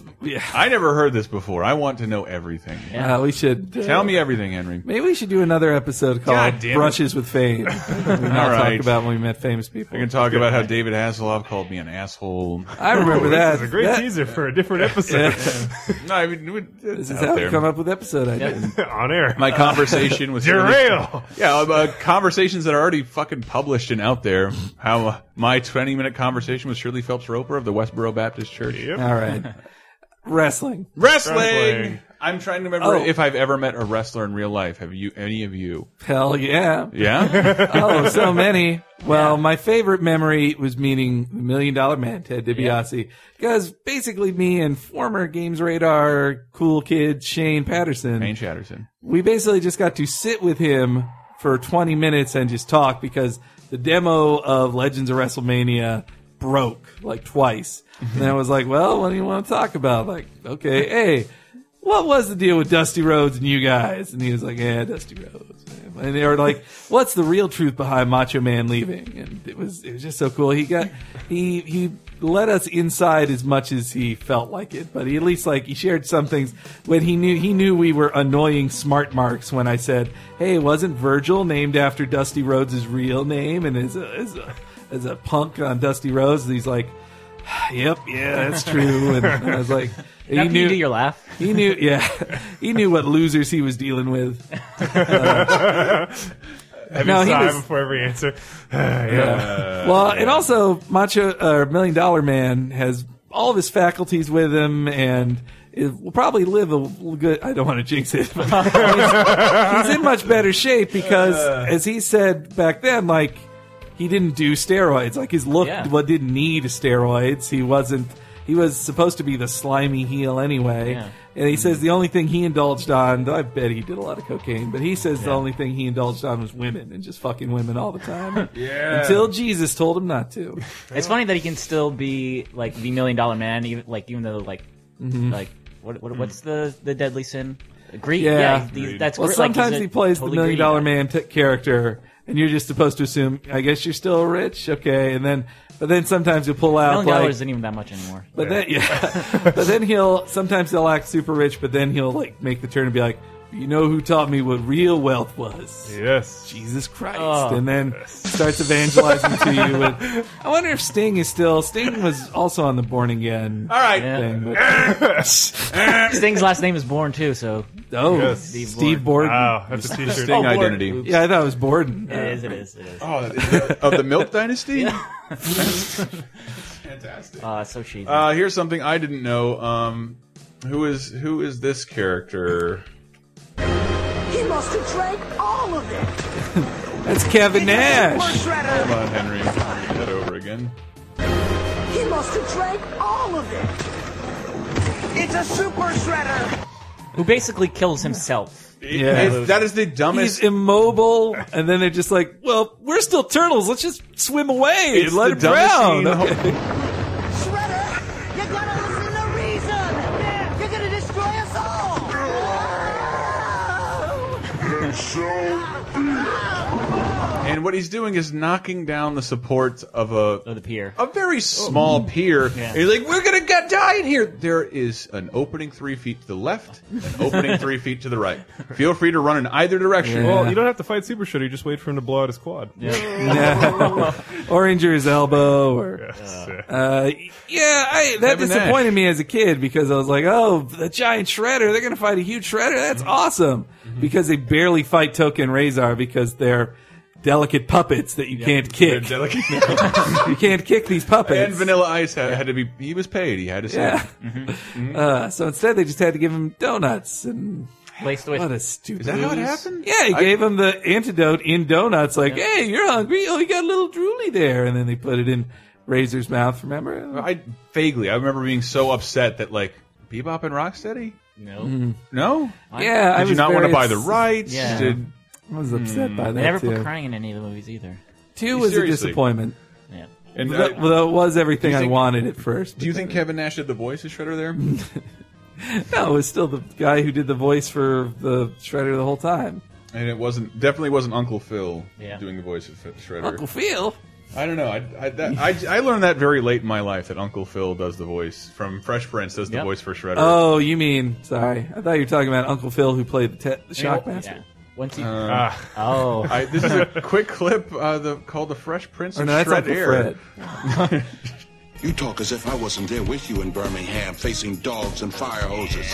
I never heard this before. I want to know everything.
Yeah. Uh, we should-
tell me everything, Henry.
Maybe we should do another episode called
God damn it.
Brunches with Fame. We can
All right.
talk about when we met famous people.
I can talk about how David Hasselhoff called me an asshole.
I remember
Ooh,
that.
This is a great
That-
teaser for a different episode.
Yeah.
no, I mean, it-
This
it's
is
out
how we
there.
come up with episode ideas.
on air.
My conversation was
derail.
Yeah, uh, conversations that are already fucking published and out there. How my twenty-minute conversation with Shirley Phelps Roper of the Westboro Baptist Church.
All right. Wrestling.
Wrestling. I'm trying to remember
Oh.
if I've ever met a wrestler in real life. Have you? Any of you?
Hell yeah.
Yeah.
oh, so many. Well, my favorite memory was meeting the Million Dollar Man, Ted DiBiase, because basically me and former Games Radar cool kid Shane Patterson,
Shane Patterson,
we basically just got to sit with him for 20 minutes and just talk because the demo of Legends of WrestleMania broke like twice. and I was like, well, what do you want to talk about? Like, okay, hey, what was the deal with Dusty Rhodes and you guys? And he was like, yeah, Dusty Rhodes. man." And they were like, what's the real truth behind Macho Man leaving? And it was, it was just so cool. He got, he, he let us inside as much as he felt like it, but he at least like, he shared some things when he knew, he knew we were annoying smart marks when I said, hey, wasn't Virgil named after Dusty Rhodes' real name? And as a, as a, as a punk on Dusty Rhodes, and he's like, yep, yeah, that's true. And I was like,
Now can you do your laugh?
He knew, yeah, he knew what losers he was dealing with. Uh,
Every
no, he
sigh
was-
before every answer.
yeah. Well, and also Macho uh, Million Dollar Man has all of his faculties with him, and it will probably live a good. I don't want to jinx it, but he's, he's in much better shape because, as he said back then, like he didn't do steroids. Like his look,
Yeah.
well, didn't need steroids. He wasn't. He was supposed to be the slimy heel anyway.
Yeah.
And he says the only thing he indulged on, though I bet he did a lot of cocaine, but he says the only thing he indulged on was women and just fucking women all the time.
Yeah.
Until Jesus told him not to.
It's funny that he can still be like the million dollar man, even like even though like
Mhm.
like what, what what's the the deadly sin? Greed.
Yeah.
Yeah, the- that's
well,
gre- like, he's
sometimes
a
he plays
totally
the million
greedy
dollar man t- character, and you're just supposed to assume, I guess you're still rich, okay, and then, but then sometimes you pull out
Million
like,
dollars isn't even that much anymore.
But then, yeah. but then he'll sometimes he'll act super rich, but then he'll like make the turn and be like, "You know who taught me what real wealth was?
Yes,
Jesus Christ!"
Oh.
and then starts evangelizing to you. With, I wonder if Sting is still. Sting was also on the Born Again.
All right.
thing, but-
Sting's last name is Born too, so
oh, Steve Borden.
Wow, that's a Oh, t-shirt.
Sting identity.
Oops.
Yeah, I thought it was Borden.
It is, it is, it is.
Uh,
Oh, of the Milk Dynasty.
Fantastic. Uh, so cheesy.
Uh, here's something I didn't know. Um, who is who is this character?
He must have drank all of it.
That's Kevin Nash.
Hold on, Henry. Read that over again.
He must have drank all of it. It's a super shredder.
who basically kills himself.
Yeah.
It's- that is the
He's
dumbest.
immobile, and then they're just like, "Well, we're still turtles. Let's just swim away
It's
and let
the
it
dumbest
drown."
scene.
Okay.
Shredder, you gotta listen to reason. You're gonna destroy us all.
And what he's doing is knocking down the support of a of
the pier,
uh,
a very
Oh,
small pier.
Yeah.
And he's like, "We're gonna get, die in here." There is an opening three feet to the left, an opening three feet to the right. Feel free to run in either direction. Oh,
Well, you don't have to fight Super Shredder. You just wait for him to blow out his quad.
Yeah. or injure his elbow, or uh, yeah, I, that
Kevin Nash.
disappointed me as a kid because I was like, "Oh, the giant shredder! They're going to fight a huge shredder. That's
Mm-hmm.
awesome!" Because they barely fight Token Razor because they're delicate puppets that you can't kick.
They're delicate.
you can't kick these puppets.
and Vanilla Ice had, had to be. He was paid. He had to. Say
Yeah.
Mm-hmm.
Uh, so instead, they just had to give him donuts and.
Laced with.
What a stupid.
Is that how it
ooze.
happened?
Yeah, he
I-
gave him the antidote in donuts. Like,
Yeah.
hey, you're hungry. Oh, you got a little drooly there, and then they put it in Razor's mouth. Remember?
I vaguely. I remember being so upset that like Bebop and Rocksteady.
No.
Mhm.
No.
Yeah,
Did
I
you
was
not want to
very
buy the
ups-
rights?
Yeah.
Did,
I was
Hmm.
upset by that.
They never put
too.
crying in any of the movies either.
Two was a
Seriously.
disappointment.
Yeah.
And
Though-
I-
though it was everything
Do you
I
think-
wanted at first.
do you think Kevin Nash did the voice of Shredder there?
No, it was still the guy who did the voice for the Shredder the whole time.
And it wasn't definitely wasn't Uncle Phil
Yeah.
doing the voice of Shredder.
Uncle Phil.
I don't know. I, I, that, I, I learned that very late in my life that Uncle Phil does the voice from Fresh Prince does the
Yep.
voice for Shredder.
Oh, you mean? Sorry, I thought you were talking about Uncle Phil who played the, te- the
oh,
Shockmaster.
Yeah. Once you.
Uh,
oh.
I, this is a quick clip uh, the, called "The Fresh Prince
Or
of
no, that's
Shred
Uncle
Air."
Fred.
You talk as if I wasn't there with you in Birmingham facing dogs and fire hoses.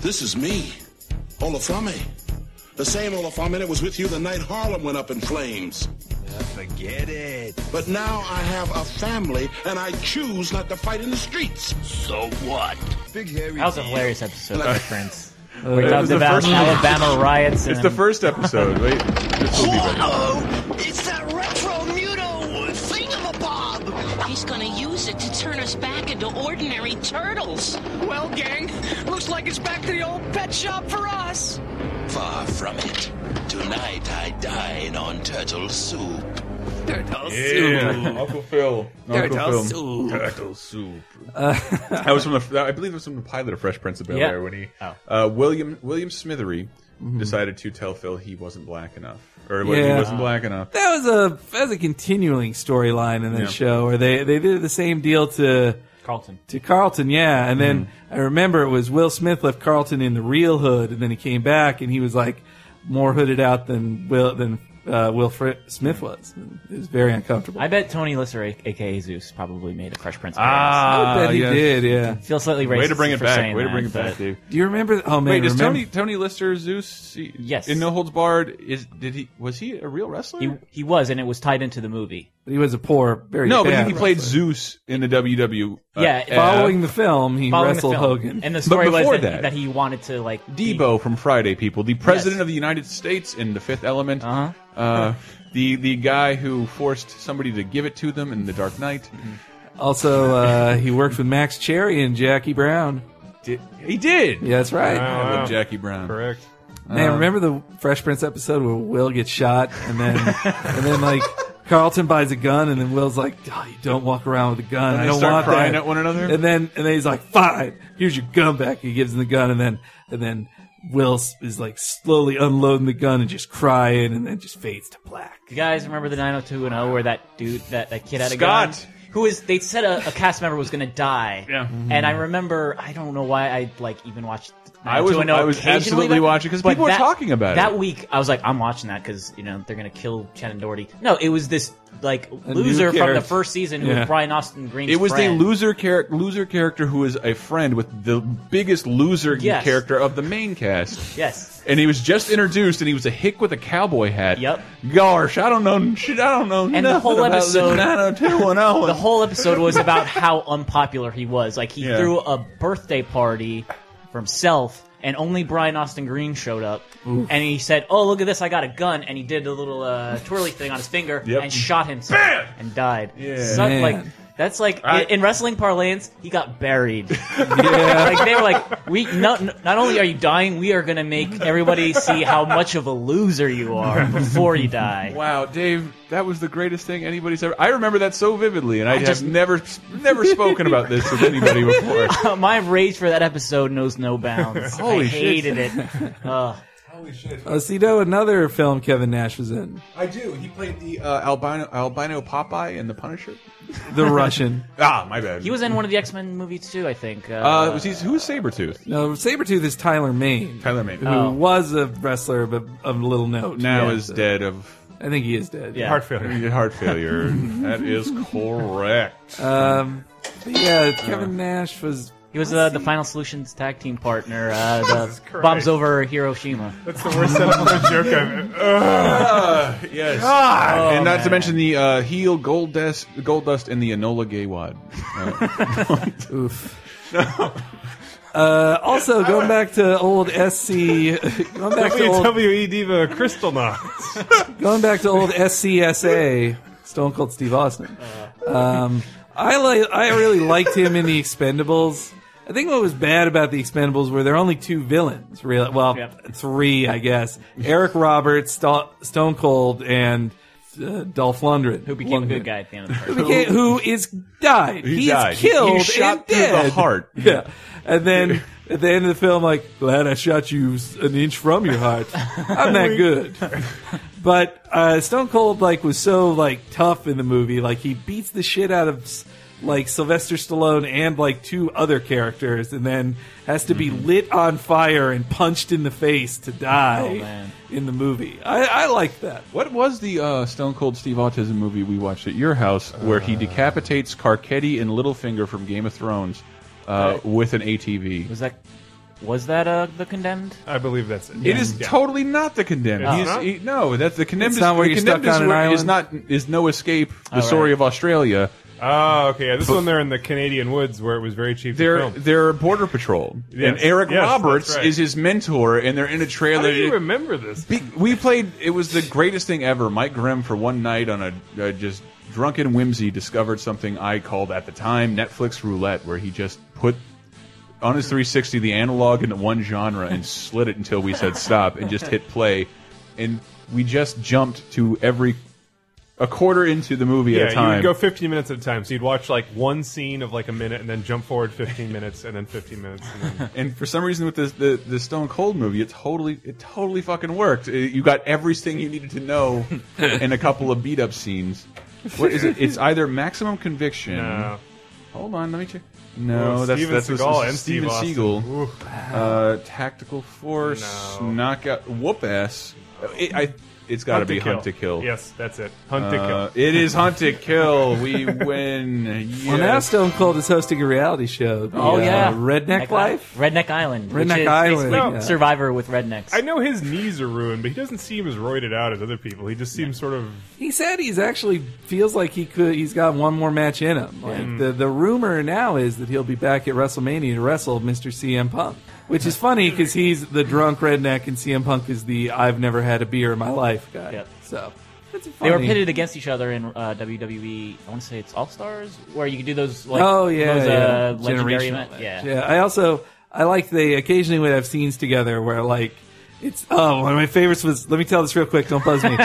This is me, Olafame. The same Olafame that was with you the night Harlem went up in flames.
Forget it.
But now I have a family and I choose not to fight in the streets. So what?
Big hairy.
That was a hilarious episode of Prince.
Uh,
we
it
talked
was the
about
first-
Alabama riots.
It's
and-
the first episode. Wait, this will be better.
It's that retro muto thingamabob.
He's gonna use it to turn us back into ordinary turtles.
Well, gang, looks like it's back to the old pet shop for us.
Far from it. Tonight I dine on turtle soup.
Turtles.
Yeah, Uncle Phil. Uncle
Turtle
Phil.
soup.
Turtle soup. Uh, that was from the. I believe it was from the pilot of Fresh Prince of Bel
Yeah.
Air when he
Oh.
uh, William William Smithery
Mhm.
decided to tell Phil he wasn't black enough, or what- he
Yeah.
wasn't black enough.
That was a that was a continuing storyline in that
Yeah.
show where they they did the same deal to
Carlton.
to Carlton, yeah. And then
Mm-hmm.
I remember it was Will Smith left Carlton in the real hood, and then he came back and he was like more hooded out than Will than uh, Will Fri- Smith was. It was very uncomfortable.
I bet Tony Lisser, a- aka Zeus, probably made a Fresh Prince.
Ah,
I bet he
yes.
did, yeah.
Feels slightly racist.
Way to bring it
for
back.
saying
Way to
that,
bring it back,
but-
Dave.
Do you remember? Oh man,
Wait, is
remember-
Tony Tony Lister Zeus? He,
Yes.
In No Holds Barred, is did he was he a real wrestler?
He, he was, and it was tied into the movie.
But he was a poor, very
no, but
bad
he, he played Zeus in the WW. uh,
Yeah,
uh,
Following the film, he
Following the
wrestled
film.
Hogan.
And the story was
before
that,
that-
that he wanted to like be-
Debo from Friday People, the president of the United States in The Fifth Element,
Uh-huh.
uh the the guy who forced somebody to give it to them in The Dark Knight.
Mm-hmm.
Also, uh, he worked with Max Cherry and Jackie Brown.
Did, he did.
Yeah, that's right.
I love Jackie Brown. Correct. Um,
Man, remember the Fresh Prince episode where Will gets shot and then and then like Carlton buys a gun and then Will's like, oh, "You don't walk around with a gun.
And
I
they
don't
start
want
crying
that."
at one another?
And then and then he's like, "Fine, here's your gun back." He gives him the gun and then and then Will s- is like slowly unloading the gun and just crying and then just fades to black.
You guys remember the 90210 where that dude, that, that kid had a gun?
Scott!
Who is, they said a, a cast member was going to die. Yeah.
Mm-hmm.
And I remember, I don't know why I like even watched
I was-
90210
I was
occasionally,
absolutely
but-
watching 'cause
but
people were
that-
talking about it.
That week, I was like, I'm watching that because, you know, they're going to kill Shannon Doherty. No, it was this like
new
loser from
character.
the first season who
Yeah.
was Brian Austin Green's
It was
friend.
the loser character, loser character who is a friend with the biggest loser
Yes.
character of the main cast.
Yes.
And he was just introduced, and he was a hick with a cowboy hat.
Yep.
Gosh, I don't know shit. I don't know.
and the
nothing
whole
about this
episode
90210.
the whole episode was about how unpopular he was like he
Yeah.
threw a birthday party for himself and only Brian Austin Green showed up
Oof.
and he said oh look at this I got a gun and he did a little uh, twirly thing on his finger
Yep.
and shot himself and died
Yeah.
So,
Man.
like That's like
I-
in wrestling parlance, he got buried.
Yeah.
like they were like, we not not only are you dying, we are going to make everybody see how much of a loser you are before you die.
Wow, Dave, that was the greatest thing anybody's ever. I remember that so vividly, and I,
I
just
just-
have never, never spoken about this with anybody before.
My rage for that episode knows no bounds.
Holy
I
shit.
hated it. Uh,
Holy shit!
Oh, see, no, another film Kevin Nash was in.
I do. He played the uh, albino albino Popeye in The Punisher.
The Russian.
ah, my bad.
he was in one of the X Men movies too, I think. Uh,
Uh, was he, who's Sabretooth?
No, Sabretooth is Tyler Maine.
Tyler Maine.
Who
Oh.
was a wrestler, but of little note.
Now
Yeah,
is
so-
dead of.
I think he is dead.
Heart failure. Heart failure. that is correct.
Um, but
Uh.
yeah, Kevin Nash was.
He was uh, the Final Solutions tag team partner. Uh, the
Christ.
bombs over Hiroshima.
That's the worst setup for a joke I've
Ah, yes.
God.
and
Oh,
not to
man.
mention the uh, heel gold dust, gold dust, and the Enola Gay wad. Uh,
Oof. Uh, also, going back to old SC, going back to old
E
WWE Diva Crystal Knox.
Going back to old SCSA, Stone Cold Steve Austin. Um, I like. I really liked him in the Expendables. I think what was bad about the Expendables were there were only two villains. Really, well, three, I guess. Eric Roberts, Sto- Stone Cold, and uh, Dolph Lundgren, who
became a good guy at the end of the
who, became- who is died.
He
He
died.
is killed.
He shot
and
through the
dead.
heart.
Yeah. And then at the end of the film, like, glad I shot you s- an inch from your heart. I'm that good. But uh, Stone Cold like was so like tough in the movie. Like he beats the shit out of s- like Sylvester Stallone and like two other characters, and then has to
Mm-hmm.
be lit on fire and punched in the face to die
Oh, man.
in the movie. I, I like that.
What was the uh, Stone Cold Steve Autism movie we watched at your house where
Uh.
he decapitates Carcetti and Littlefinger from Game of Thrones uh, with an ATV?
Was that was that uh, the condemned?
I believe that's it.
It is totally not the condemned.
It's
He's-
not?
he- no, that's the condemned.
It's
is-
not where
the
you're
condemned
stuck
is
on an
where- is
island?
not is no escape. The
Oh,
story
right.
of Australia.
Oh, okay. Yeah, this one they're in the Canadian woods where it was very cheap
They're
to film.
they're border patrol,
Yes,
and Eric
yes,
Roberts
that's right.
is his mentor, and they're in a
How
trailer.
do you remember this?
Be- we played. It was the greatest thing ever. Mike Grimm for one night on a, a just drunken whimsy discovered something I called at the time Netflix roulette, where he just put on his 360 the analog into one genre and slid it until we said stop and just hit play, and we just jumped to every a quarter into the movie
yeah,
at a time.
you would go 15 minutes at a time. So you'd watch like one scene of like a minute, and then jump forward 15 minutes, and then 15 minutes. And then...
And for some reason, with this the, the Stone Cold movie, it totally it totally fucking worked. It- you got everything you needed to know in a couple of beat up scenes. What is it? It's either Maximum Conviction.
No.
Hold on, let me check. No,
Ooh,
that's
Steven
that's
Seagal
that's
and
Steven
Steve Austin.
Seagal.
Oof.
Uh, tactical Force,
No.
Knockout, Whoop Ass. It, I, it's got to
Hunt to
be Hunt to
Kill.
Kill.
Yes, that's it. Hunt to
Uh,
Kill.
It is Hunt to Kill. We win. Yes.
Well, now Stone Cold is hosting a reality show. the,
Oh
uh,
yeah,
Redneck Life.
Redneck Island, which
Redneck
is
Island,
basically
yeah.
Survivor with rednecks.
I know his knees are ruined, but he doesn't seem as roided out as other people. He just seems sort of
He said he's actually feels like he could. He's got one more match in him. Like
Mm.
the the rumor now is that he'll be back at WrestleMania to wrestle Mr. CM Punk, which is funny because he's the drunk redneck and CM Punk is the I've never had a beer in my life guy.
Yep.
So that's
They were
funny.
pitted against each other in uh, WWE. I want to say it's All Stars, where you could do those. Like,
oh yeah,
those,
yeah.
Uh, legendary
Generational
event.
match.
Yeah.
I also I like they occasionally would have scenes together where like it's oh one of my favorites was let me tell this real quick don't buzz me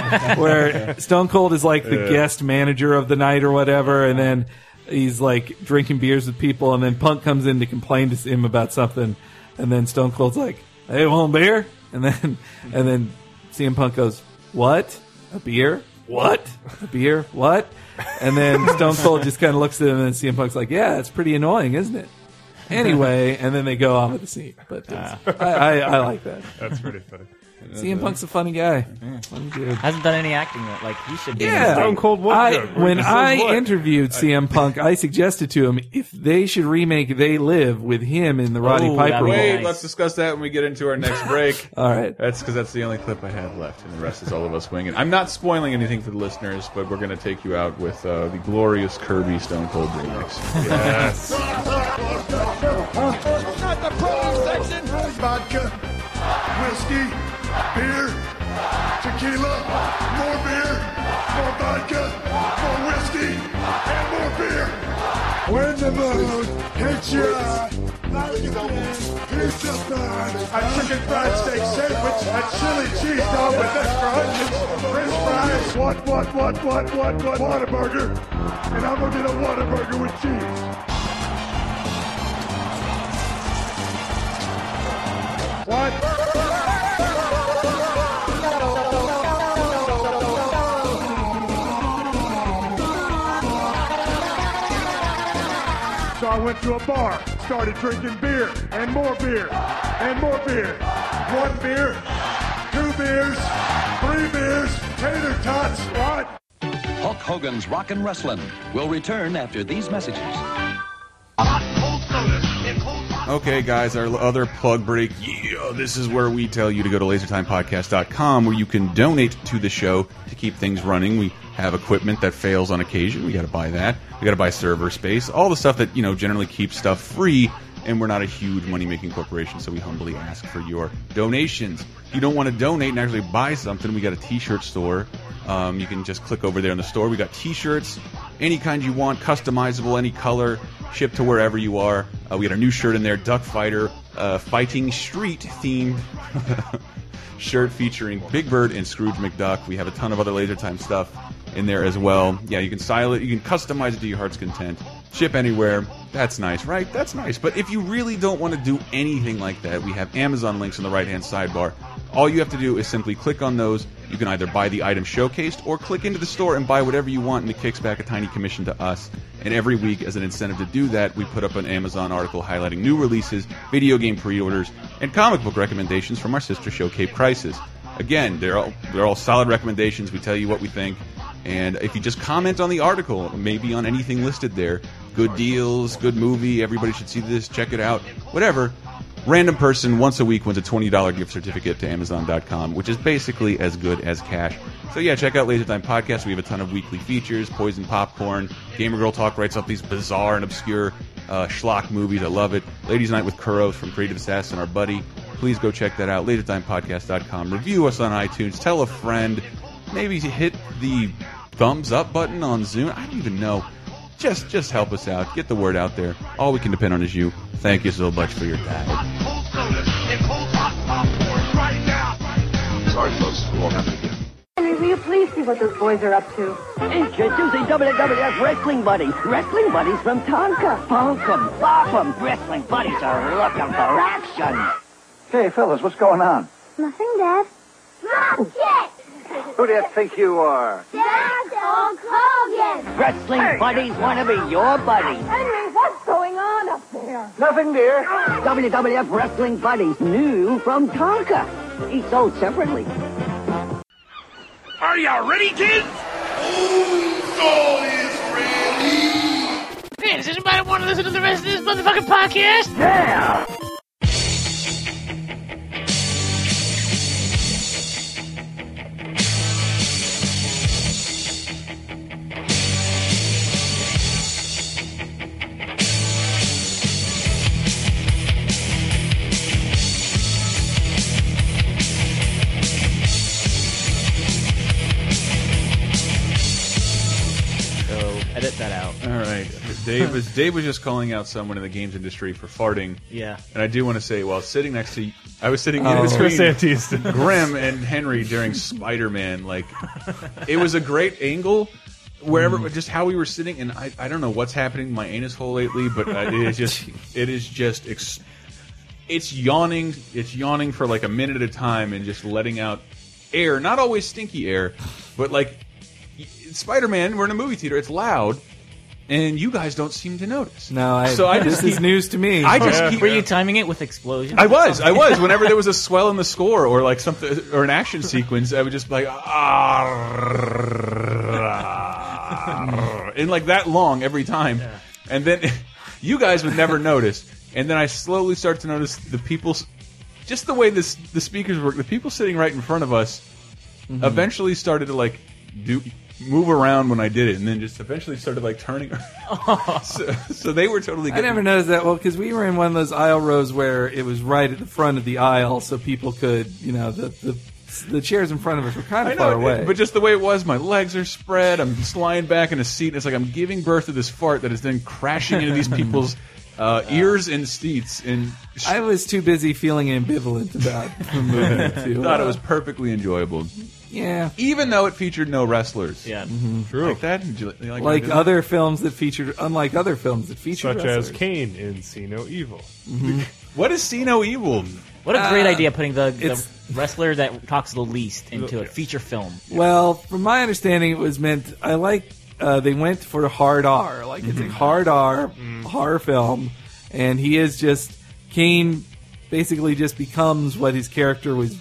where Stone Cold is like the
Yeah.
guest manager of the night or whatever and then he's like drinking beers with people and then Punk comes in to complain to him about something and then Stone Cold's like hey want a beer and then and then CM Punk goes what a beer what a beer what and then Stone Cold just kind of looks at him and CM Punk's like yeah it's pretty annoying isn't it anyway, and then they go on with the scene. But it's- I, I, I like that.
That's pretty funny.
CM Punk's a funny guy. Funny dude.
Hasn't done any acting yet. Like he should be. in
Yeah,
this thing.
I, when I interviewed CM Punk, I suggested to him if they should remake "They Live" with him in the Roddy
Oh,
Piper. role.
Wait, let's discuss that when we get into our next break.
All right.
That's because that's the only clip I have left, and the rest is all of us winging. I'm not spoiling anything for the listeners, but we're going to take you out with uh, the glorious Kirby Stone Cold remix.
Yes.
Not the product section.
Vodka, whiskey, beer, tequila, more beer, more vodka, more whiskey, and more beer.
When the moon hits you, piece of bread, a chicken fried steak sandwich, a chili cheese dog with extra onions, french fries, what, what, what, what, what, what, Whataburger, and I'm gonna get a Whataburger with cheese. What? So I went to a bar, started drinking beer, and more beer, and more beer. One beer, two beers, three beers, tater tots, what?
Hulk Hogan's Rockin' Wrestlin' will return after these messages.
Okay, guys, our other plug break. Yeah, this is where we tell you to go to lasertimepodcast.com where you can donate to the show to keep things running. We have equipment that fails on occasion. We got to buy that. We got to buy server space. All the stuff that, you know, generally keeps stuff free. And we're not a huge money making corporation, so we humbly ask for your donations. If you don't want to donate and actually buy something, we got a t shirt store. Um, you can just click over there in the store. We got t shirts, any kind you want, customizable, any color, shipped to wherever you are. Uh, we got a new shirt in there, Duck Fighter, uh, Fighting Street themed shirt featuring Big Bird and Scrooge McDuck. We have a ton of other Laser Time stuff in there as well. Yeah, you can style it, you can customize it to your heart's content, ship anywhere. That's nice, right? That's nice. But if you really don't want to do anything like that, we have Amazon links in the right hand sidebar. All you have to do is simply click on those. You can either buy the item showcased or click into the store and buy whatever you want, and it kicks back a tiny commission to us. And every week, as an incentive to do that, we put up an Amazon article highlighting new releases, video game pre orders, and comic book recommendations from our sister show, Cape Crisis. Again, they're all, they're all solid recommendations. We tell you what we think. And if you just comment on the article, maybe on anything listed there, good deals, good movie, everybody should see this, check it out, whatever. Random person once a week wins a $20 gift certificate to Amazon.com, which is basically as good as cash. So, yeah, check out Laser Time Podcast. We have a ton of weekly features Poison Popcorn, Gamer Girl Talk writes up these bizarre and obscure uh, schlock movies. I love it. Ladies Night with Kuros from Creative Assassin, our buddy. Please go check that out. LaserTimePodcast.com. Review us on iTunes. Tell a friend. Maybe hit the thumbs up button on Zoom. I don't even know. Just just help us out. Get the word out there. All we can depend on is you. Thank you so much for your time.
Sorry, folks. It won't happen again.
Henry, will you please see what those boys are up to?
Introducing WWF Wrestling Buddies. Wrestling Buddies from Tonka. Bonk 'em, bop 'em. Wrestling Buddies are looking for action.
Hey, fellas, what's going on?
Nothing, Dad. Mom, shit!
Who do you think you are?
That's Hulk Hogan!
Wrestling Buddies want to be your buddies.
Henry, what's going on up there?
Nothing, dear. WWF Wrestling Buddies, new from Tonka. Each sold separately.
Are y'all ready, kids?
Hey, does anybody want to listen to the rest of this motherfucking podcast? Yeah!
So edit that out.
All right. Dave was Dave was just calling out someone in the games industry for farting.
Yeah.
And I do want to say, while sitting next to, I was sitting
Oh.
in between
Chris Antista.
Grim and Henry during Spider Man. Like, it was a great angle. Wherever,
Mm.
just how we were sitting, and I, I don't know what's happening to my anus hole lately, but uh, it is just, it is just, ex it's yawning, it's yawning for like a minute at a time, and just letting out air, not always stinky air, but like Spider Man, we're in a movie theater, it's loud, and you guys don't seem to notice.
No, I,
so I just
this is
keep-
news to me.
I just keep.
were you timing it with explosions?
I was, I was. Whenever there was a swell in the score or like something or an action sequence, I would just be like ah, and like that long every time, and then you guys would never notice, and then I slowly start to notice the people, just the way this the speakers work, the people sitting right in front of us,
Mhm.
eventually started to like do move around when I did it, and then just eventually started like turning. so, so they were totally.
I
Getting
never noticed that. Well, because we were in one of those aisle rows where it was right at the front of the aisle, so people could, you know, the, the the chairs in front of us were kind
I
of far
know,
away.
but just the way it was, my legs are spread. I'm just lying back in a seat. And it's like I'm giving birth to this fart that is then crashing into these people's uh, ears and seats. And
I was too busy feeling ambivalent about the movie. Too.
thought it was perfectly enjoyable.
Yeah.
even though it featured no wrestlers.
Yeah,
true. Like that, Did you like, that?
like other films that featured, unlike other films that featured
Such
wrestlers.
as Kane in See No Evil.
Mhm.
What is See No Evil?
What a great
Uh,
idea putting the, the
it's-
wrestler that talks the least into a feature film.
Well, from my understanding, it was meant. I like uh, they went for hard R, like it's a hard R Mm. horror film, and he is just Kane. Basically, just becomes what his character was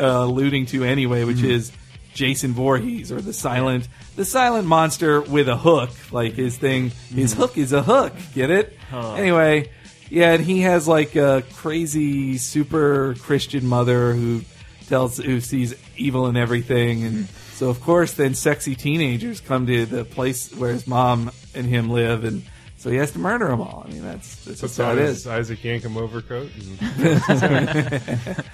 uh, alluding to anyway, which
Mhm.
is Jason Voorhees or the silent, the silent monster with a hook. Like his thing, his hook is a hook. Get it?
Huh.
Anyway, yeah, and he has like a crazy super Christian mother who tells who sees evil in everything, and so of course, then sexy teenagers come to the place where his mom and him live, and so he has to murder them all. I mean, that's that's
Puts
just how
on
it
his
is.
Isaac Yankem overcoat. And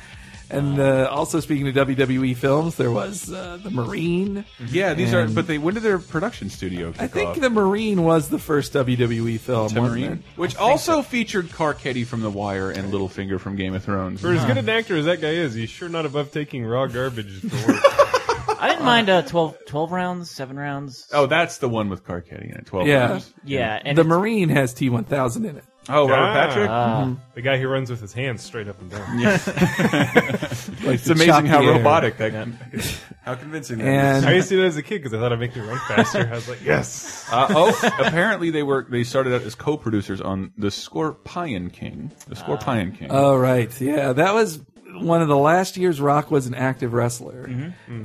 and uh, also speaking of WWE films, there was uh, the Marine.
Mm-hmm. Yeah, these are.
and-
But they when did their production studio? Kick
I think
off?
the Marine was the first WWE film.
The
wasn't
Marine, which also featured Carcetti from The Wire and Littlefinger from Game of Thrones.
For as good an actor as that guy is, he's sure not above taking raw garbage for work.
I didn't mind uh, 12, 12 rounds, seven rounds.
oh, that's the one with Carcetti in it.
it?
Twelve.
Yeah,
Rooms.
Yeah, and
the
it's-
Marine has T one thousand in it.
Oh, Robert
Ah.
Patrick.
Mhm.
The guy who runs with his hands straight up and down.
Yeah. Like It's to amazing chop how the air. robotic that- how convincing that And- is.
I used to do it as a kid because I thought it'd make me run faster. I was like, yes.
Uh, oh, apparently they were they started out as co-producers on the Scorpion King. The Scorpion King.
Oh right, yeah, that was one of the last years. Rock was an active wrestler,
Mm-hmm.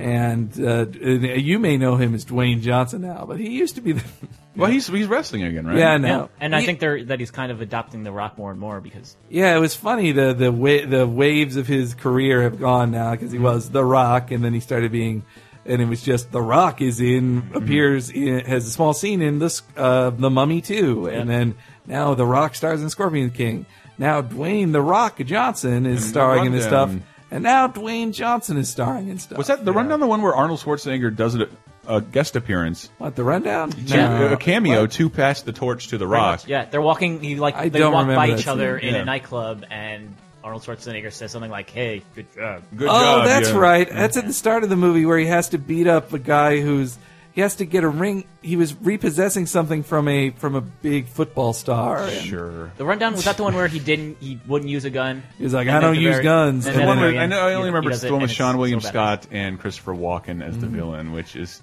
Mhm.
and uh, d- you may know him as Dwayne Johnson now, but he used to be the.
Well, he's he's wrestling again, right?
Yeah, I know.
And I think they're, that he's kind of adopting the rock more and more because
Yeah, it was funny the the wa- the waves of his career have gone now because he was The Rock, and then he started being, and it was just The Rock is in
Mm-hmm.
appears in, has a small scene in this uh, the Mummy too, and then now The Rock stars in Scorpion King. Now Dwayne The Rock Johnson
Mm,
is starring in this stuff,
Rundown.
and now Dwayne Johnson is starring in stuff.
Was that the rundown the one where Arnold Schwarzenegger does a, a guest appearance?
What the rundown?
Two-
No.
A cameo to pass the torch to the Rock.
Yeah, they're walking. He like
I
they
don't
walk by
remember that
each other
scene.
in
Yeah.
a nightclub, and Arnold Schwarzenegger says something like, "Hey, good job,
good
oh, that's right. That's
Mm.
at the start of the movie where he has to beat up a guy who's he has to get a ring. He was repossessing something from a from a big football star. And
Sure.
The rundown was that the one where he didn't, he wouldn't use a gun.
He's like,
And
"I
at
don't
the
use
very-
guns."
and
The
at
one
the
where-
very
I
end,
know. I
he-
only
he
remember
does
it's the
it,
one
and
with
it's
Sean
so Mm-hmm.
William
bad.
Scott and Christopher Walken as the villain, which is,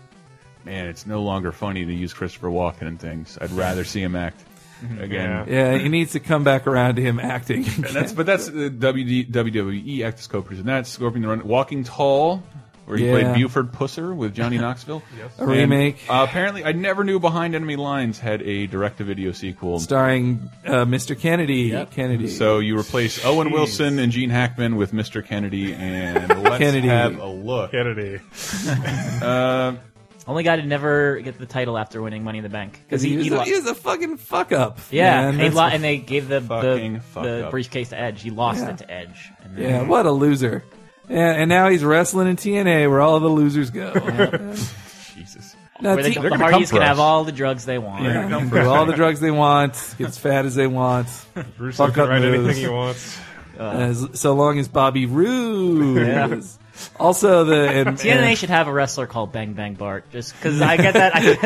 man, it's no longer funny to use Christopher Walken in things. I'd rather see him act
Mm-hmm.
again.
yeah, he needs to come back around to him acting.
And that's but that's uh, the WD, WWE E act as co-producer. And That's Scorpion the Run, Walking Tall, where he
Yeah.
played Buford Pusser with Johnny Knoxville.
A remake.
And, uh, apparently, I never knew Behind Enemy Lines had a direct-to-video sequel.
starring uh, Mr. Kennedy. Kennedy.
So you replace Owen
Jeez.
Wilson and Gene Hackman with Mr. Kennedy, and let's
Kennedy.
have a look.
Kennedy.
uh,
Only guy to never get the title after winning Money in the Bank because he,
he, was
he
a,
lo-
he was a fucking fuck up.
yeah,
man.
and, he
That's-
lo- and they gave the the,
Fucking fuck
the
up.
briefcase to Edge. He lost it to Edge. And then-
yeah, what a loser. Yeah, and now he's wrestling in TNA, where all the losers go.
Jesus.
No,
Where they,
T-
the Hardys can have all the drugs they want.
Yeah, do all the drugs they want, get as fat as they want.
Bruce
fuck
can
up
write anything
moves.
he wants.
As- so long as Bobby Roode.
Yeah.
Also the and,
TNA should have a wrestler called Bang Bang Bart, just because I get that I get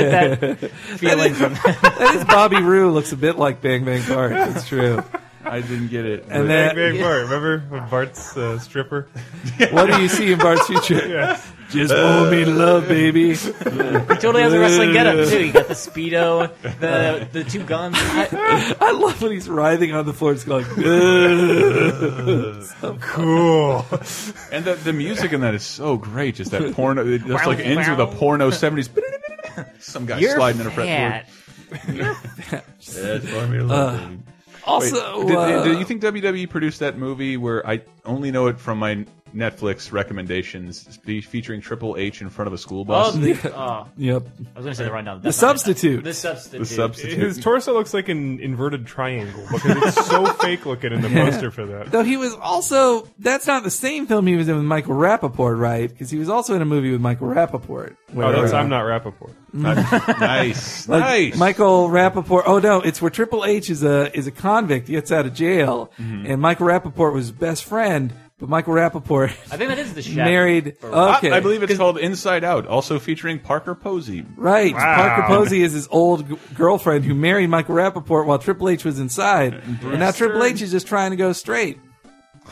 that feeling from
that is Bobby Roode looks a bit like Bang Bang Bart. It's true.
I didn't get it.
And
Big
then
Bang Bart, remember when Bart's uh, stripper?
what do you see in Bart's future?
Yes.
Just owe me love, baby. he
totally has a wrestling getup too. You got the speedo, the the two guns. I,
I love when he's writhing on the floor, just going. So
cool.
And the, the music in that is so great. Just that porno. It just like ends with a porno 70s. Some guy
You're
sliding in a
fat.
fretboard. Yeah, it's blowing me a little
Uh,
bit.
also,
Wait, did-
uh,
E did, do you think WWE produced that movie where I only know it from my Netflix recommendations fe- featuring Triple H in front of a school bus.
Oh, the- oh.
Yep.
I was going to say the rundown.
The
That's not it.
substitute.
The substitute.
The substitute.
His torso looks like an inverted triangle because it's so fake looking in the
Yeah.
poster for that.
Though he was also that's not the same film he was in with Michael Rappaport, right? Because he was also in a movie with Michael Rappaport.
Oh, that's
where-
I'm not Rappaport.
nice,
Like,
nice.
Uh, Michael Rappaport. Oh no, it's where Triple H is a is a convict. He gets out of jail,
Mm-hmm.
and Michael Rappaport was his best friend. But Michael Rappaport,
I think that is the shadow.
married.
I-
Okay,
I, believe it's called Inside Out, also featuring Parker Posey.
Right, Parker Posey is his old g- girlfriend who married Michael Rappaport while Triple H was inside, and now Triple H is just trying to go straight.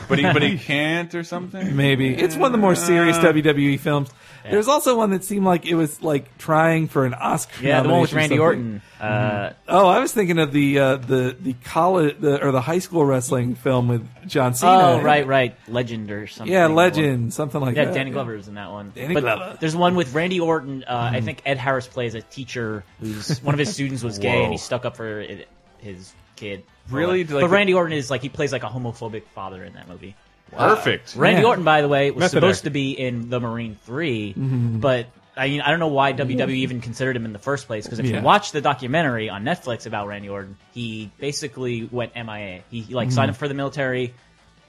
but he but he can't or something.
Maybe it's one of the more serious
Uh,
WWE films. There's also one that seemed like it was like trying for an Oscar.
Yeah, the one with
nomination or
Randy
something.
Orton. Uh,
oh, I was thinking of the uh, the the college the, or the high school wrestling film with John Cena.
Oh, right, right. Legend or something.
Yeah, Legend, something like
yeah,
that.
Yeah, Danny
Yeah.
Glover was in that one.
Danny
But
Glover.
There's one with Randy Orton. Uh, I think Ed Harris plays a teacher who's one of his students was gay and
Whoa.
he stuck up for it, his kid.
Really?
But,
Like-
Randy Orton is like he plays like a homophobic father in that movie.
Perfect.
Randy
Yeah.
Orton, by the way, was
Method
supposed
actor.
to be in The Marine 3
Mhm.
but I mean, I don't know why WWE even considered him in the first place. Because if
Yeah.
you watch the documentary on Netflix about Randy Orton, he basically went MIA. He, he, like
Mhm.
Mm-hmm.
signed up for the military.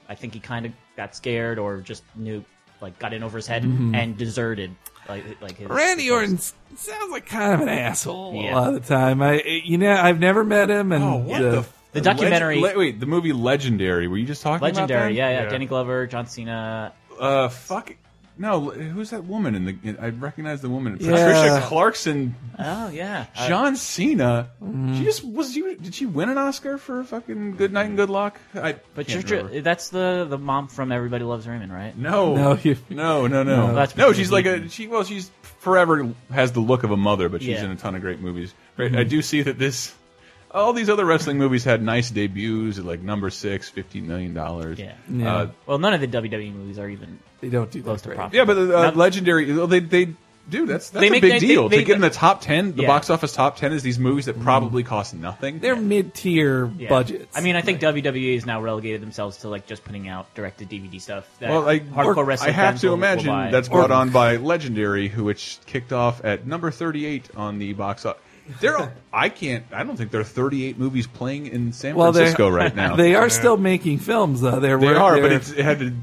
I think he kind of got scared or just knew, like, got in over his head
Mm-hmm.
Mhm.
and deserted. Like, like his,
Randy Orton s- sounds like kind of an asshole
Yeah.
a lot of the time. I you know I've never met him, and
Oh, what
uh,
the,
The documentary-
Leg- le- wait, the movie Legendary. Were you just talking
legendary.
about
Yeah,
that?
yeah, Danny Glover, John Cena.
Uh, fuck. No, who's that woman in the? I recognize the woman.
Yeah.
Patricia Clarkson.
Oh yeah, Uh, mm.
John Cena. She just was. She, did she win an Oscar for fucking Good Night and Good Luck? I
But
can't
Patricia-
remember.
that's the the mom from Everybody Loves Raymond, right?
No,
No, you-
no, no, no.
No, that's
no
Patricia
she's like a
Heaton.
she. Well, she's forever has the look of a mother, but she's
Yeah. Mm-hmm.
in a ton of great movies. Right,
Mhm.
I do see that this. All these other wrestling movies had nice debuts at like number six, $15 million.
Yeah.
Yeah.
Uh,
Well, none of the WWE movies are even
they don't do that
close to
great.
profit.
yeah, but uh,
Not-
legendary. well, They they do. That's that's
They
a
make-
big
they- they-
deal
they-
to get in the top ten. The
Yeah. Mm-hmm.
box office top ten is these movies that probably cost nothing.
They're mid tier
Yeah.
budgets.
I mean, uh, I think WWE has now relegated themselves to like just putting out directed DVD stuff. That
well, I,
hardcore
or-
wrestling
I have
fans
to
will- will
imagine
buy.
that's brought on by Legendary, who which kicked off at number thirty-eight on the box office. There, are- I can't. I don't think there are thirty-eight movies playing in San
well, they're-
Francisco right now.
They are still making films though. They're,
They
wor-
are, but
they're-
it's, it had a d-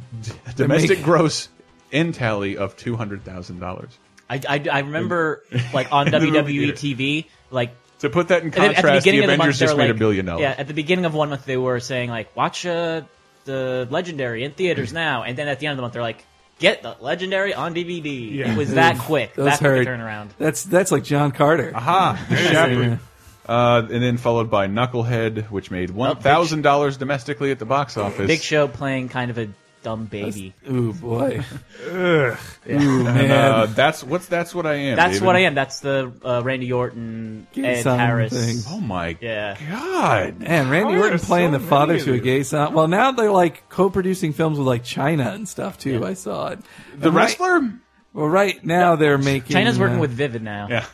domestic
making-
gross end tally of two hundred thousand dollars.
I, I, I remember like on
In the movie
WWE TV, like
To put that in
and then
contrast, the,
of
Avengers
they
just
were
made a
like-
billion dollars.
Yeah, at the beginning of one month they were saying like, watch uh, the Legendary in
Mm.
theaters now, and then at the end of the month they're like, get the Legendary on DVD.
Yeah.
It was that quick,
those
that
hurt.
quick a turnaround. Ah,
That's that's like John Carter.
Aha! The Chaperone. Uh, and then followed by Knucklehead, which made one thousand dollars domestically at the box office.
Oh, Big Show playing kind of a dumb baby.
Ooh boy.
Ugh.
Ooh
And,
man.
uh, that's what's that's what I am.
That's
David.
what I am. That's the uh, Randy Orton,
Give
Ed
something.
Harris.
Oh my
Yeah.
god!
Man, Randy
Why are
Orton
there
playing
so
the father
many of
to a
these?
gay son. Well, now they're like co-producing films with like China and stuff too. I saw it.
The
And right-
wrestler.
well, right now they're making.
China's working
uh,
with Vivid now.
Yeah.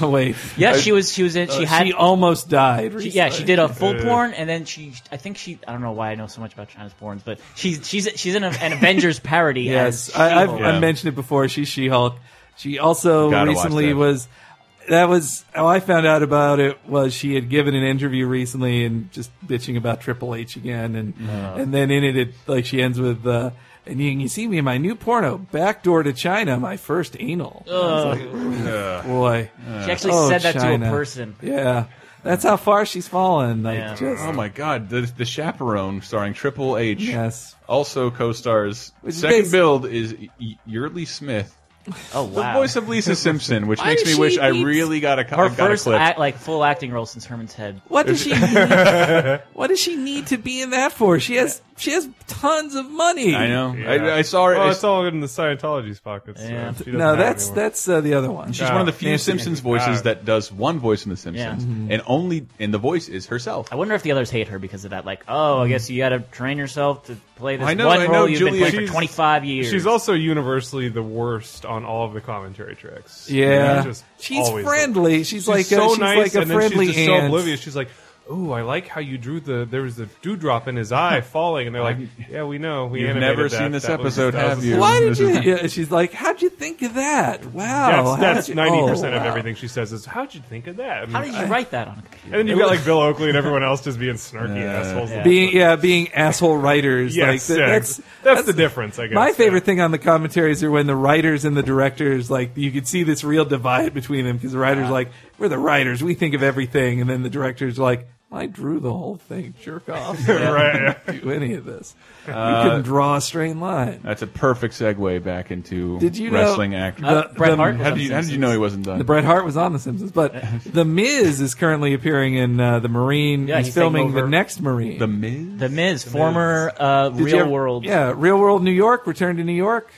wait.
Yeah, she was. She was in. She
Uh,
had.
she almost died.
she- yeah,
recently.
she did a full
Uh.
porn, and then she. I think she. I don't know why I know so much about China's porns, but she's she's she's in a, an Avengers parody.
Yes,
as
I, I've,
She-Hulk.
I mentioned it before. She's She-Hulk. She also
Gotta watch
recently
that.
was. That was how I found out about it. Was she had given an interview recently and just bitching about Triple H again, and and then in it, it like she ends with. Uh, and you can see me in my new porno, Backdoor to China, my first anal. I was like,
Ugh.
boy.
She actually
Oh,
said that to
China.
a person.
Yeah. That's how far she's fallen. Like,
Yeah.
just,
Oh my god! The the chaperone starring Triple H
yes.
also co-stars.
Which is
Second
based-
build is y Yearly Smith,
Oh wow.
the voice of Lisa Simpson, which
Why
makes
does
me wish
she
I
keep-
really got a, co-
her
got a
first
clip.
act, like full acting role since Herman's Head.
What does she need? what does she need to be in that for? She has she has tons of money.
I know.
Yeah.
I, I saw her.
Well,
I
it's all in the Scientology's pockets. so
Yeah.
she doesn't
No,
have
that's
anyone.
that's uh, the other one.
She's one of the few
Nancy.
Simpsons voices
God.
that does one voice in The Simpsons,
Yeah.
and only and the voice is herself.
I wonder if the others hate her because of that. Like, oh, I guess you got to train yourself to play this
Hmm. I know,
one
I
role
know,
you've
Julia-
been playing
She's-
for 25 years.
She's also universally the worst on all of the commentary tracks.
Yeah,
She's just
she's
always the-
friendly. She's, like a,
so
she's
nice,
like a
and
friendly
then she's just
aunt.
so oblivious. She's like, "Ooh, I like how you drew the there was a dewdrop in his eye falling," and they're like, "Yeah, we know. We
You've
animated
never
that.
seen this
That was-
episode,
that was
have
a-
you?
Why did you? Yeah, she's like, how'd you think of that? Wow,
Oh,
oh,
That's- that's ninety percent
of everything.
of everything she says is how'd you think of that? I
How
mean,
did you
I-
write that on a
And
computer?
then you got like Bill Oakley and everyone else just being snarky
Uh,
assholes.
Being yeah, being asshole writers.
Yes,
like, th-
yeah,
that's,
that's, the difference, I guess.
my favorite thing on the commentaries are when the writers and the directors like you could see this real divide between them because the writers like we're the writers, we think of everything, and then the directors are like I drew the whole thing, jerk off.
Right.
I didn't Do any of this?
Uh,
you couldn't draw a straight line.
That's a perfect segue back into
Did you know-
wrestling actor.
Uh, Bret
the-
Hart was
How,
on
do you,
The
how did you
Simpsons.
know he wasn't done?
The Bret Hart was on The Simpsons, but The Miz is currently appering in uh, The Marine.
Yeah,
he's,
he's taking
filming
over-
the next Marine. The
Miz.
The Miz, former uh,
Did you
Real
ever-
World.
Yeah, Real World New York. Returned to New York.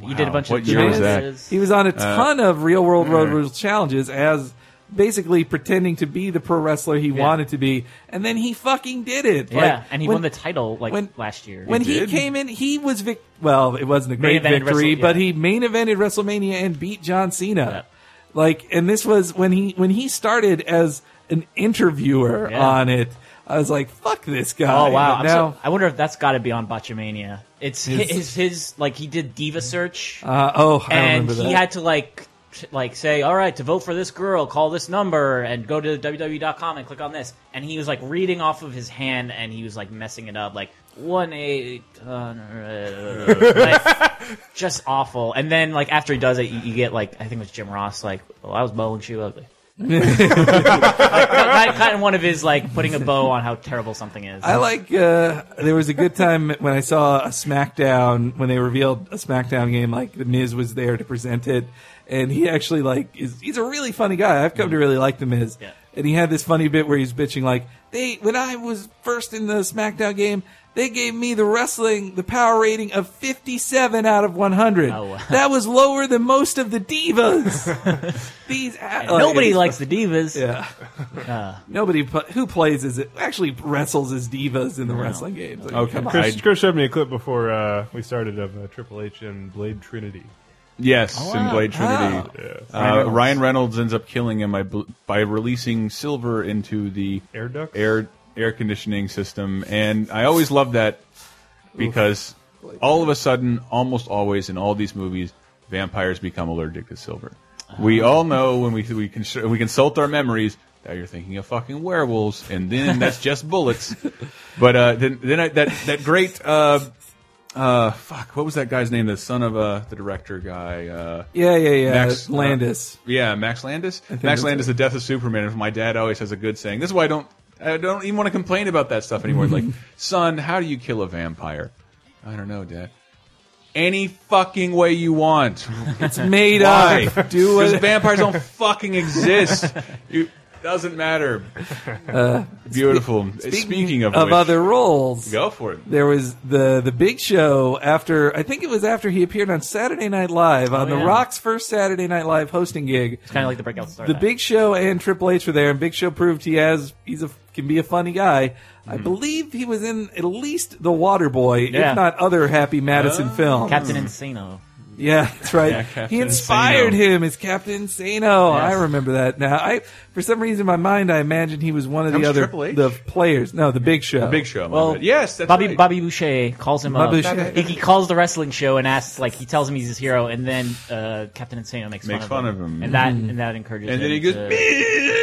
He did a bunch
What
of
year was
Miz.
that?
He was on a
Uh,
ton of Real World Road Rules challenges as basically pretending to be the pro wrestler he
Yeah.
wanted to be, and then he fucking did it.
Yeah,
Like,
and he
when-
won the title like last year.
when he came in, he was vic- well, it wasn't a great
Main evented
victory,
Wrestle-
but
yeah.
he main evented WrestleMania and beat John Cena. Like, and this was when he when he started as an interviewer
Yeah.
on it. I was like, "Fuck this guy!"
Oh wow!
But
I'm
Now,
so, I wonder if that's got to be on Botchamania. It's his,
His-
his, like he did Diva Search.
Uh, oh, I
and
remember
he
that.
had to like t- like say, all right, to vote for this girl, call this number and go to www.com and click on this. And he was like reading off of his hand, and he was like messing it up, like one eight hundred. like, just awful. And then like after he does it, you, you get like I think it was Jim Ross, like, well, I was bowling shoe ugly. like, kind, kind of one of his like putting a bow on how terrible something is.
I like. Uh, there was a good time when I saw a SmackDown when they revealed a SmackDown game. Like the Miz was there to present it, and he actually like is he's a really funny guy. I've come to really like the Miz, and he had this funny bit where he's bitching like they when I was first in the SmackDown game. They gave me the wrestling, the power rating of 57 out of 100.
Oh,
That was lower than most of the divas. These a- like-
Nobody likes the divas.
Yeah.
Uh,
Nobody pl- who plays as it actually wrestles as divas in the wrestling games. Like,
Okay,
come on.
Chris, Chris showed me a clip before uh, we started of uh, Triple H and Blade Trinity.
Yes,
Oh,
in
wow.
Blade
Wow.
Trinity.
Yeah.
Uh,
Ryan Reynolds.
Ryan Reynolds ends up killing him by, bl- by releasing silver into the
Air ducts?
air air conditioning system, and I always love that because all of a sudden, almost always in all these movies, vampires become allergic to silver. We
Ah.
all know when we we, cons we consult our memories that you're thinking of fucking werewolves, and then that's just bullets. But uh, then then I, that that great. Uh, uh, fuck, what was that guy's name? The son of uh, the director guy. Uh,
Yeah, yeah, yeah,
Max
Landis.
uh, yeah, Max Landis.
think
Max
that's
Landis,
it.
The Death of Superman. And my dad always has a good saying. This is why I don't. I don't even want to complain about that stuff anymore. like, son, how do you kill a vampire? I don't know, dad. Any fucking way you want.
It's made
Why?
up. Do
Because
it.
vampires don't fucking exist. You doesn't matter.
Uh,
Beautiful.
spe-
Speaking, of
of
which-
other roles,
go for it.
There was the the Big Show after I think it was after he appeared on Saturday Night Live on
Oh,
The
yeah.
Rock's first Saturday Night Live hosting gig. It's
kind of like the breakout star.
The
act.
Big Show and Triple H were there, and Big Show proved he has he's a can be a funny guy.
Hmm.
I believe he was in at least The Water Boy,
Yeah.
if not other Happy
Oh.
Madison films.
Captain Insano.
Yeah, that's right.
Yeah, Captain
he inspired
Insano.
him as Captain Insano.
Yes.
I remember that. Now, I for some reason in my mind I imagined he was one of
That
the
was
other
Triple H?
the players. No, the Big Show.
The Big Show. my
Well,
bad. yes, that's
Bobby
right.
Bobby Boucher calls him
Bobby
up.
Boucher.
He, he calls the wrestling show and asks, like, he tells him he's his hero, and then uh, Captain Insano makes,
Makes
fun, of,
fun
him.
of him.
and that
Mm-hmm.
Mm.
and that encourages.
And
him
then he goes,
to-
"Beep."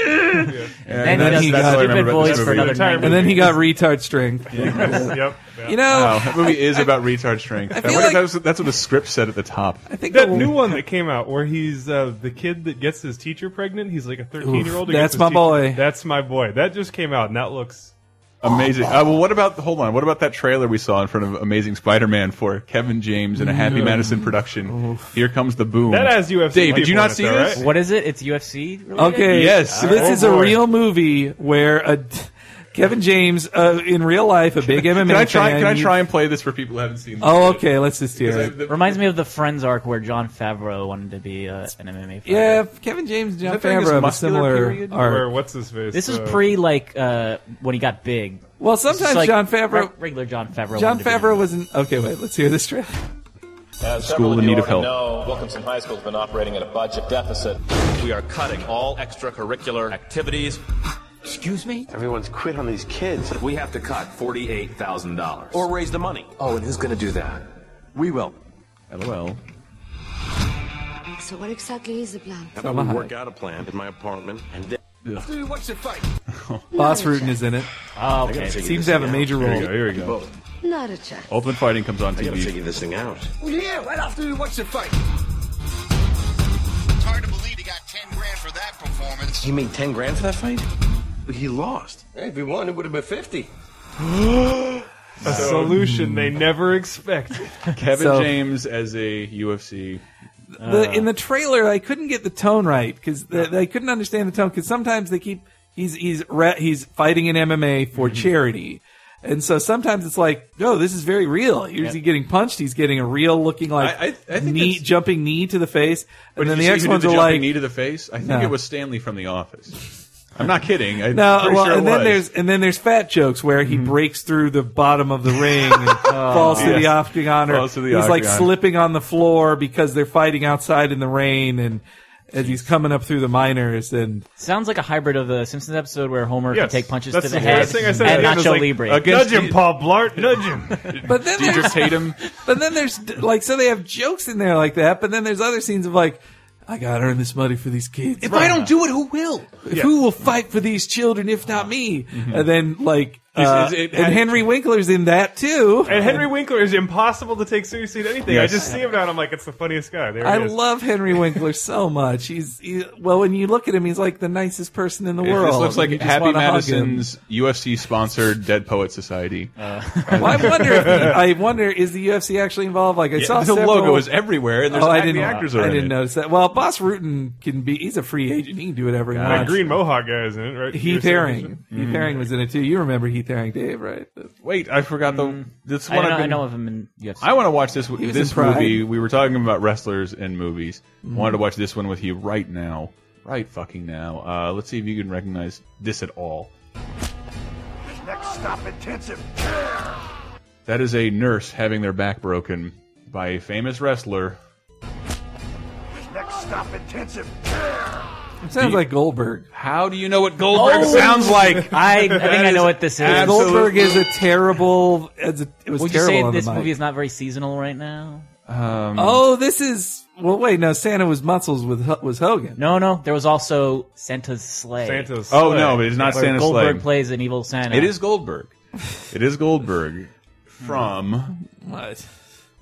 And then
that's
he does that
all I
stupid
remember about this
voice for
movie.
another nine
and then he
minutes.
got retard strength.
Yes, yep, yep.
You know,
Wow, that movie is about retard strength. I,
feel
wonder if
like-
that was, that's what the script said at the top.
I think
that
the-
new one that came out where he's uh, the kid that gets his teacher pregnant. He's like a thirteen-year-old.
Oof, that's my boy.
That's my boy. That just came out, and that looks
Amazing. Uh, well, what about hold on? What about that trailer we saw in front of Amazing Spider-Man for Kevin James and a Happy
Mm.
Madison production? Here comes the boom.
That has UFC
Dave, did
label
you
on
not
it,
see
though,
this?
What is it? It's UFC. Related?
Okay.
Yes.
So this
Oh,
is a
boy.
real movie where a Kevin James uh, in real life a big MMA
Can I try?
fan,
Can I
you-
try and play this for people who haven't seen? This
Oh,
yet?
okay. Let's just hear
Because
it.
I-
Reminds me of the Friends arc where John Favreau wanted to be uh, an MMA fighter.
Yeah, Kevin James, John
that during his
Favreau, have a
muscular
similar
period?
arc.
where what's his face?
This is
uh,
pre like uh, when he got big.
Well,
This is
sometimes
like
John Favreau-
reg- regular John Favreau.
John
wanted to be-
Favreau was in. Okay, wait. Let's hear this trailer.
As
School
Uh, several
in
you
need of
already
help.
Know, Wilkinson High School has been operating at a budget deficit. We are cutting all extracurricular activities.
Excuse me? Everyone's quit on these kids. We have to cut $48,000. Or raise the money. Oh, and who's going to do that?
We will. LOL.
So what exactly is the plan?
How about we work out a plan in my apartment and then.
Dude, what's the fight?
Boss Rutan is in it.
Oh, okay.
Seems to have a major
Here
role.
we go. Here we go.
Not a chance.
Ultimate Fighting comes on
I gotta
TV.
figure this thing out.
Well, yeah, right after we watch the fight.
It's hard to believe he got 10 grand for that performance.
You mean 10 grand for that fight? But he lost.
Hey, if he won, it would have been 50.
A solution
Mm-hmm.
they never expect.
Kevin
So-
James as a UFC. Uh.
the, in the trailer, I couldn't get the tone right because I couldn't understand the tone. Because sometimes they keep he's he's re, he's fighting in MMA
Mm-hmm.
for charity, and so sometimes it's like, no, this is very real. He's
Yep.
getting punched. He's getting a real looking like
I- I- I think
knee
it's-
jumping knee to the face,
But
and then
did
the
you see
next
who did
ones
the
are
jumping
like
knee to the face. I think
No.
it was Stanley from The Office. I'm not kidding. I'm
No,
pretty
well,
sure it
and then
was. Mm-hmm.
there's and then there's fat jokes where he breaks through the bottom of the ring and falls to the
Oh, Yes.
octagon, or
Falls to the
he's like
octagon.
slipping on the floor because they're fighting outside in the rain, and as he's coming up through the minors, and
Sounds like a hybrid of the Simpsons episode where Homer
Yes.
can take punches
That's
to the,
the
head
last thing I said at
and
the end was
Nacho
like,
Libre.
against Nudge him, the- Paul Blart. Nudge him.
but then
Dieter
there's-
Tatum.
but then there's like so they have jokes in there like that, but then there's other scenes of like. I gotta earn this money for these kids. If I don't do it, who will? Who will fight for these children if not me? And then like,
Uh-huh. Mm-hmm. Is-
uh,
is it-
and Henry Winkler's in that too.
And Henry Winkler is impossible to take seriously to anything.
Yes.
I just see him now and I'm like, it's the funniest guy. There
I
he is.
love Henry Winkler so much. He's he, well, when you look at him, he's like the nicest person in the
It-
world.
This looks like
You just
Happy
wanna hug him.
Madison's UFC sponsored Dead Poet Society.
Well, I wonder. If the, I wonder is the UFC actually involved? Like I
Yeah,
saw
the
several-
logo is everywhere, and there's
oh, I
act- the
didn't,
actors are
I
in
didn't
it.
notice that. Well, Boss Rutan can be. He's a free agent. He can do whatever he
That
wants.
green mohawk guy is in it, right? You were
Heath
saying-
Herring.
Mm.
Heath Herring was in it too. You remember Heath Herring, Dave, right?
Wait, I forgot the this
I
one.
know-
I've been-
I know of him in UFC.
I want to watch this
was in
this
Pride.
movie. We were talking about wrestlers and movies.
Mhm.
Wanted to watch this one with you right now, right fucking now. Uh, let's see if you can recognize this at all.
Next stop, intensive care.
That is a nurse having their back broken by a famous wrestler.
Next stop, intensive care.
It sounds
Do you-
like Goldberg.
How do you know what Goldberg
Oh!
sounds like?
I- I
That
think I know
is
what this is.
absolutely-
Goldberg is a terrible. It's a, it was
Would you
terrible.
say
on the
this
mic.
movie is not very seasonal right now?
Um,
Oh, this is. Well, wait, no. Santa was muscles with H- was Hogan.
No, no. There was also Santa's sleigh.
Santa's
Oh
Slay.
no, but it's not
Where
Santa's
Goldberg
Slay.
plays an evil Santa.
It is Goldberg. It is Goldberg from
What?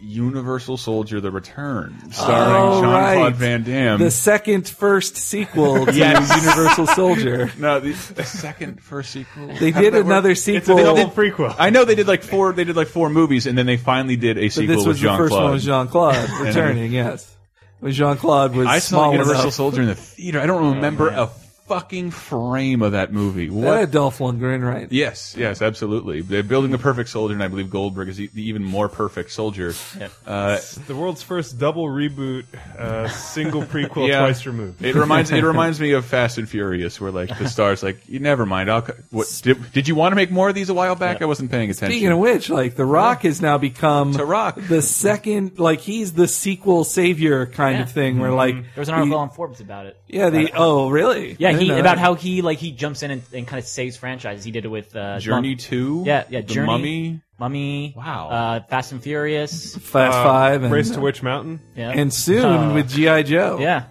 Universal Soldier: The Return, starring
Oh,
Jean Claude
right.
Van Damme.
The second first sequel to
Um, Yes.
Universal Soldier.
no, the, the second first sequel.
They did another sequel.
It's a double prequel.
I know they did like four. They did like four movies, and then they finally did a
but
sequel
this
with
was the
Jean
first one
Claude.
with Jean Claude returning. Yes, when Jean Claude was
I saw
small
Universal
enough. Oh,
Soldier in the theater. I don't remember a fucking frame of that movie.
That
What?
had Dolph Lundgren, right?
Yes, yes, absolutely. They're building the perfect soldier, and I believe Goldberg is e- the even more perfect soldier. Uh,
It's the world's first double reboot, uh, single prequel
Yeah.
twice removed.
It reminds it reminds me of Fast and Furious, where like the stars like, you never mind. I'll co- what did, did you want to make more of these a while back? I wasn't paying attention.
Speaking of which, like The Rock has now become
The Rock.
the second, like he's the sequel savior kind
Yeah. Mm-hmm.
of thing. Where like
There was an article
the-
on Forbes about it.
yeah, the oh really? I
Yeah,
didn't
he
know
about
that.
how he like he jumps in and, and kind of saves franchises. He did it with uh,
Journey
Mum-
Two,
Yeah, yeah.
The
Journey,
Mummy.
Mummy.
Wow.
Uh, Fast and Furious.
Fast
Uh,
Five and
Race to Witch Mountain.
Yeah.
and soon
Uh,
with GI Joe.
Yeah.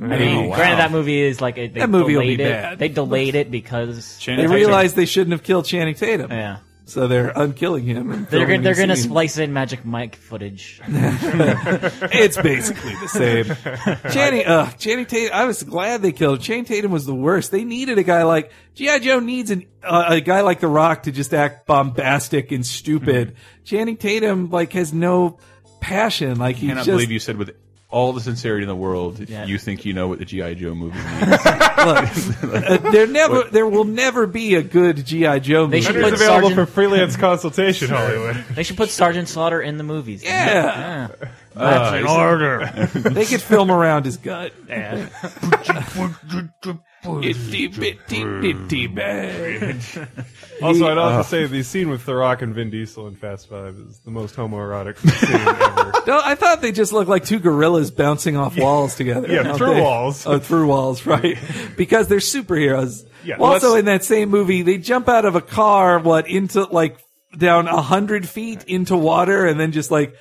I mean,
Oh, wow.
granted, that movie is like a, they
That movie will be
delayed it.
bad.
They delayed it because
They realized they shouldn't have killed Channing Tatum.
Yeah.
So they're unkilling him. and
They're
filming
gonna, they're
new
gonna
scenes.
splice in Magic Mike footage.
It's basically the same. Channing, uh, Channing Tatum. I was glad they killed him. Channing Tatum was the worst. They needed a guy like GI Joe needs an, uh, a guy like The Rock to just act bombastic and stupid.
Mm-hmm.
Channing Tatum like has no passion. Like
I
he's
cannot
just
believe you said with all the sincerity in the world,
Yeah.
you think you know what the GI Joe movie means.
uh, there never there will never be a good GI Joe movie.
They should
It's
put
available
Sergeant,
for freelance consultation, Hollywood.
they should put Sergeant Slaughter in the movies.
Yeah.
Yeah.
Uh,
they could film around his gut. Itty bitty bitty bang.
Also, I'd also
Uh.
say the scene with The Rock and Vin Diesel in Fast Five is the most homoerotic scene ever.
No, I thought they just looked like two gorillas bouncing off walls together.
Yeah,
don't
through
they?
walls.
Oh, through walls, right? Because they're superheroes.
Yeah,
Well, also,
let's-
in that same movie, they jump out of a car, what into like down a hundred feet into water, and then just like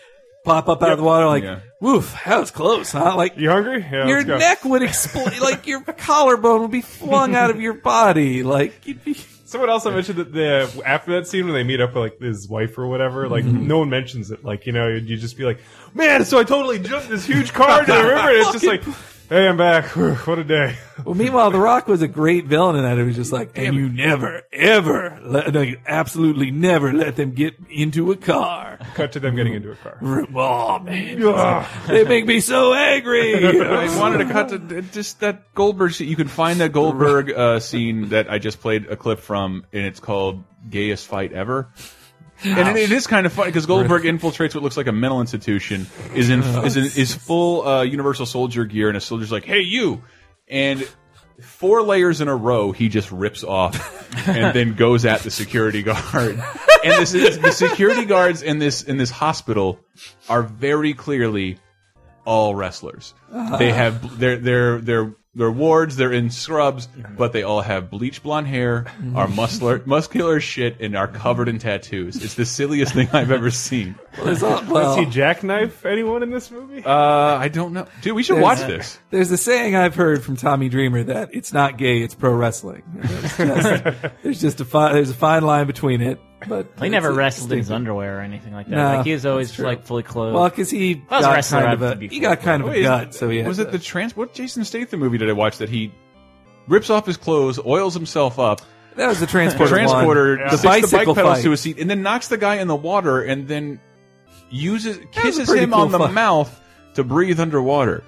pop up out of the water, like
Yeah.
woof, that was close, huh? Like
you hungry? Yeah,
your
let's go.
neck would explode, like your collarbone would be flung out of your body, like.
Someone also mentioned that the after that scene when they meet up with like his wife or whatever, like no one mentions it. Like you know, you just be like, man, so I totally jumped this huge car into the river, and it's just like, hey, I'm back. What a day.
Well, meanwhile, The Rock was a great villain in that. It was just like, and you never, ever, let, no, you absolutely never let them get into a car.
Cut to them getting into a car.
Oh man,
Ugh.
they make me so angry.
I wanted to cut to just that Goldberg scene. You can find that Goldberg uh, scene that I just played a clip from, and it's called "Gayest Fight Ever." And it, it is kind of funny because Goldberg infiltrates what looks like a mental institution, is in is in, is full uh, Universal Soldier gear, and a soldier's like, "Hey, you!" and four layers in a row, he just rips off and then goes at the security guard. And this is the security guards in this in this hospital are very clearly all wrestlers.
Uh-huh.
They have their their their their wards. They're in scrubs, but they all have bleach blonde hair, are muscular muscular as shit, and are covered in tattoos. It's the silliest thing I've ever seen.
Does he jackknife anyone in this movie?
Uh, I don't know, dude. We should watch this.
There's a saying I've heard from Tommy Dreamer that it's not gay, it's pro wrestling. It's just- there's just a fine, there's a fine line between it. But
He never
it's-
wrestled in his
it's-
underwear or anything like that.
No,
like he was always
that's true.
like fully clothed.
Well, because he
If I was a
got
wrestler,
kind
I'd
of a-
have to be
he
fully
got kind of a
clothed.
gut, so he had
was
to-
it the trans? What Jason Statham movie did I watch that he rips off his clothes, oils himself up?
That was the transporter one.
transporter
Yeah. The
sticks the
bicycle
bike pedals
fight.
to his seat, and then knocks the guy in the water, and then uses
was a
kisses
pretty
him
cool
on the
fight. Hmm.
mouth to breathe underwater.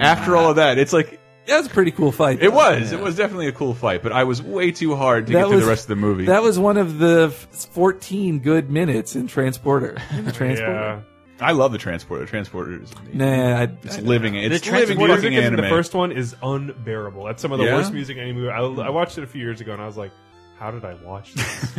After all of that, it's like
that was a pretty cool fight.
It was. It was definitely a cool fight, but I was way too hard to
That
get through
was-
the rest of the movie.
That was one of the f- 14 good minutes in Transporter. In the Transporter.
I love the transporter. Transporter is amazing.
Nah, I-
it's living. It's
the
living
Transporter
fucking
music in
anime.
The first one is unbearable. That's some of the
Yeah?
worst music in any movie. I, I watched it a few years ago and I was like, how did I watch this?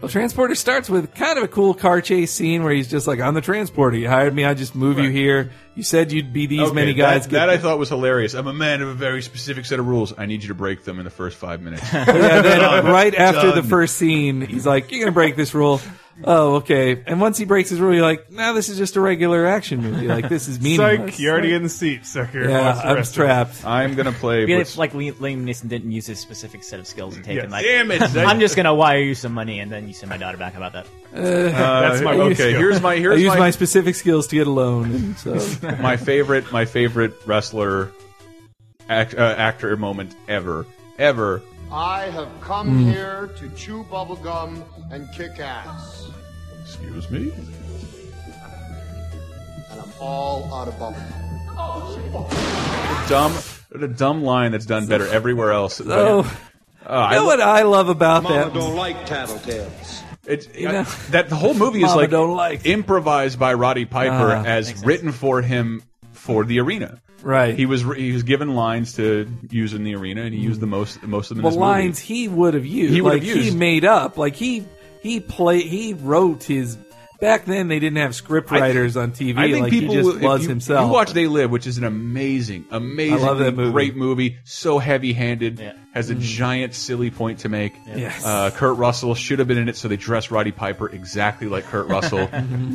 Well, Transporter starts with kind of a cool car chase scene where he's just like, I'm the Transporter. You hired me. I just move you here. You said you'd be these
Okay,
many guys.
That,
Get-
that I thought was hilarious. I'm a man of a very specific set of rules. I need you to break them in the first five minutes.
yeah, then right after the
Done.
first scene, he's like, "You're gonna break this rule." Oh, okay. And once he breaks his rule, you're like, "Now this is just a regular action movie. Like this is meaningless."
Psych, you're already in the seat, sucker.
Yeah,
Watch the
I'm
rest of
trapped.
I'm gonna play.
It'd be
what's-
like, like Liam Liam Neeson didn't use his specific set of skills and
Yes.
taken like,
Damn it, that-
I'm just gonna wire you some money and then you send my daughter back. How about that?
That's my- Uh, okay, here's my- here's
I use
my-
my, specific skills to get a loan. And so
my favorite my favorite wrestler act, uh, actor moment ever ever
I have come
Hmm.
here to chew bubblegum and kick ass.
excuse me
And I'm all out of bubblegum.
dumb a dumb line that's done better everywhere else but-
So-
Oh, I
uh, you know what I love about
Mama
that?
don't like tattletales.
It's
You know?
that the whole movie is
Mama
like,
don't like.
improvised by Roddy Piper
Ah,
as written for him for the arena.
Right.
He was he was given lines to use in the arena, and he used the most most of them.
the
in this
lines
Movie.
he would have used.
He would
like,
have used.
He made up. Like he he play he wrote his. Back then, they didn't have script writers on TV.
I think
like
people
he
will-
just
if
was
you,
himself.
You watch They Live, which is an amazing, amazing,
that movie. Mm-hmm.
great movie. So heavy-handed, has a giant silly point to make.
Yes.
Uh, Kurt Russell should have been in it, so they dressed Roddy Piper exactly like Kurt Russell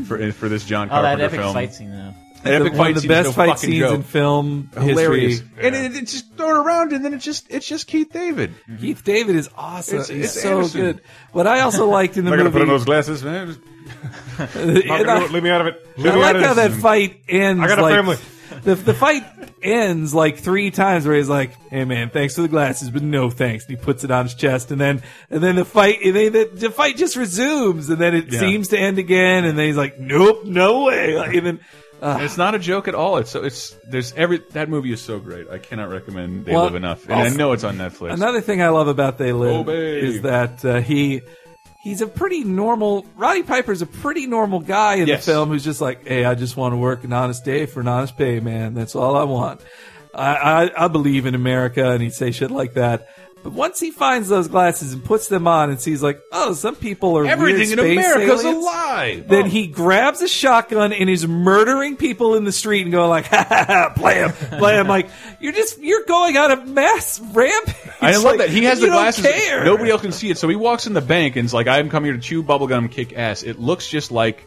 for for this John
Oh, that
Carpenter
epic
film.
fight scene, though.
That epic
The- Mm-hmm. one
fight
of the
scene
best
is no
fight
fucking
scenes
joke.
in film
Hilarious.
history.
And it, it's just thrown around, and then it just it's just Keith David.
Mm-hmm.
Keith David is awesome.
It's-
He's
it's
so
Anderson.
good. What I also liked in the
Am I
movie.
gonna put on those glasses, man?
Not gonna do it. Leave me out of it. Leave
I
me
like
out of
how
this.
that fight ends.
I got a
like,
family.
The, the fight ends like three times where he's like, "Hey man, thanks for the glasses, but no thanks." And he puts it on his chest, and then and then the fight and then the, the fight just resumes, and then it
Yeah.
seems to end again, and then he's like, "Nope, no way." Like, and then
And it's not a joke at all. It's so it's there's every that movie is so great. I cannot recommend They
Well,
Live enough, and I
also-
know it's on Netflix.
Another thing I love about They Live
Obey.
is that uh, he he's a pretty normal. Roddy Piper's a pretty normal guy in
Yes.
the film who's just like, hey, I just want to work an honest day for an honest pay, man. That's all I want. I, I, I believe in America, and he'd say shit like that. But once he finds those glasses and puts them on and sees like, oh, some people are
Everything
weird
in
space
America's Oh.
aliens.
a lie.
Then he grabs a shotgun and is murdering people in the street and going like, ha ha ha, play him, play him. Like you're just you're going on a mass rampage.
I love
Like,
that he has
you
the
don't
glasses.
care.
Nobody else can see it, so he walks in the bank and is like, "I'm coming here to chew bubblegum, kick ass." It looks just like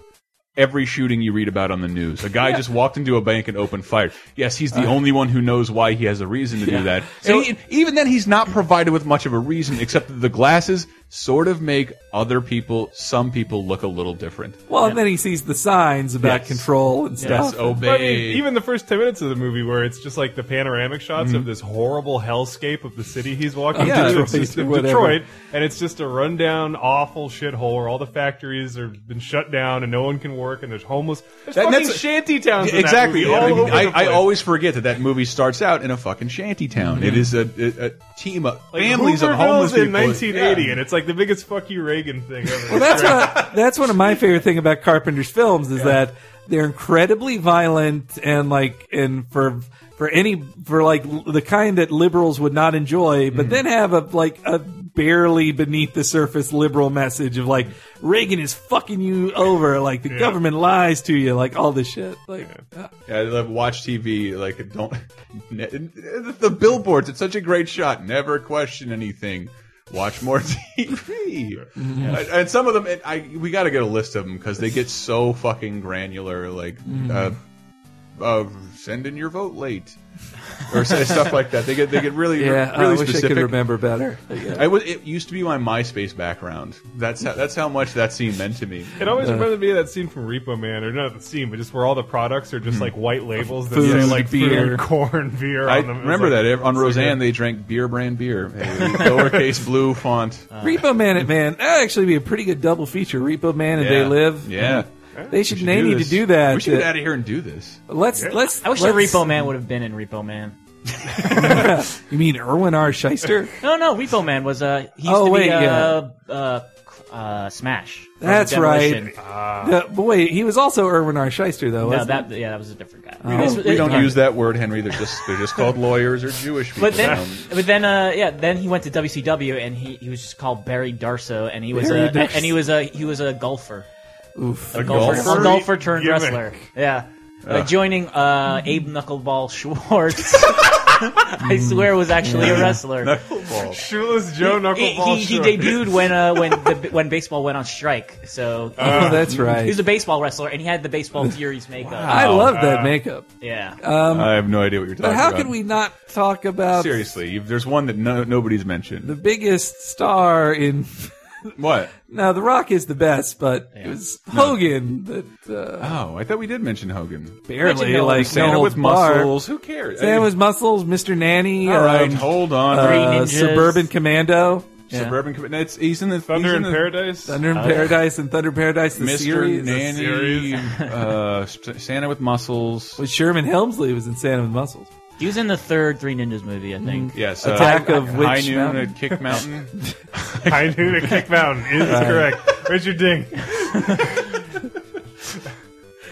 every shooting you read about on the news. A guy just walked into a bank and opened fire. Yes, he's the
Uh.
only one who knows why he has a reason to do that. So and he- even then, he's not provided with much of a reason, except that the glasses sort of make other people, some people, look a little different.
Well, and then he sees the signs about
Yes.
control and
Yes, Oh,
stuff.
obey.
But I mean, even the first ten minutes of the movie, where it's just like the panoramic shots
Mhm.
of this horrible hellscape of the city he's walking
Yeah,
through,
Detroit,
it's just in
whatever.
Detroit, and it's just a rundown, awful shithole where all the factories have been shut down and no one can work, and there's homeless. There's
That-
fucking
that's-
shanty towns.
Yeah, exactly.
In that movie, all
I, mean,
over the
I- I
place.
always forget that that movie starts out in a fucking shanty town.
Mhm.
It is a, a, a team of
Like
families of
Hoovervilles
homeless
in
people.
1980,
Yeah.
and it's like the biggest fuck you Reagan thing ever.
Well, that's what that's one of my favorite thing about Carpenter's films is that they're incredibly violent and like and for for any for like l- the kind that liberals would not enjoy,
Mm-hmm.
but then have a like a barely beneath the surface liberal message of like Reagan is fucking you over, like the government lies to you, like all this shit. Like uh,
Yeah, I love watch TV. Like don't ne- the billboards. It's such a great shot. Never question anything. Watch more TV.
Mhm.
And- And some of them, and I we got to get a list of them because they get so fucking granular. Like,
Mhm.
uh, uh, send in your vote late, or s- stuff like that. They get they get really
Yeah,
really
I wish I could
specific.
remember better. Yeah.
I was, it used to be my MySpace background. That's how that's how much that scene meant to me.
It always reminded me of that scene from Repo Man, or not the scene, but just where all the products are just like white labels that
Hmm. Food,
say like
beer.
food, corn, beer.
I
on them. It's
remember
like-
that Ev- on
it's like
Roseanne they drank beer brand beer, a lowercase blue font.
Repo Man and Man, that'd actually be a pretty good double feature. Repo Man and
Yeah.
They Live.
Yeah.
They should,
We should
they
do
need
this.
to do that. Uh,
We should get out of here and do this.
Let's let's
I wish
let's,
the Repo Man would have been in Repo Man.
you mean Erwin R. Shyster?
No, no, Repo Man was uh he used
Oh,
to
wait,
be uh,
yeah.
uh, uh Smash. from
That's right.
Demolition.
Uh.
The- but wait, he was also Erwin R. Shyster, though.
no,
wasn't
that yeah, that was a different guy.
Oh.
We
This-
don't, we
it-
don't use that word, Henry. They're just they're just called lawyers or Jewish people.
But then,
Um,
but then, uh, yeah, then he went to WCW and he, he was just called Barry Darso, and he was
Barry
a
Darso.
and he was a he was a golfer,
he? Oof.
a golfer, a golfer turned
Gimmick.
wrestler. Yeah, uh,
Ugh.
joining uh, Abe Knuckleball Schwartz. I swear, was actually a
Yeah.
wrestler.
Knuckleball. Shoeless Joe
He-
Knuckleball
He, he,
Schwartz.
debuted when uh, when the, when baseball went on strike. So
Oh, that's right.
He was a baseball wrestler, and he had the baseball Furies makeup.
I
Oh,
love
uh,
that makeup.
Yeah.
Um,
I have no idea what you're talking
But how
about.
could we not talk about
seriously? You, there's one that no, nobody's mentioned.
the biggest star in?
what?
No, The Rock is the best, but it was Hogan that. Uh,
Oh, I thought we did mention Hogan.
Barely, like
Santa
no
with
holds barred.
muscles. Who cares? I
Santa
mean-
with muscles, Mr. Nanny.
All right,
um,
hold on.
uh,
Three ninjas.
Suburban Commando. Yeah.
Suburban. Com- It's he's in the
Thunder
he's
in
the-
Paradise?
Thunder in
Uh,
Paradise and Thunder Paradise, the
Mr.
series.
Nanny, uh, S- Santa with muscles.
With Sherman Helmsley was in Santa with Muscles.
He was in the third Three Ninjas movie, I think.
Yes, uh,
Attack of Witch
High noon
Mountain.
at Kick Mountain.
High noon at Kick Mountain is
Right.
correct. Richard Ding.
I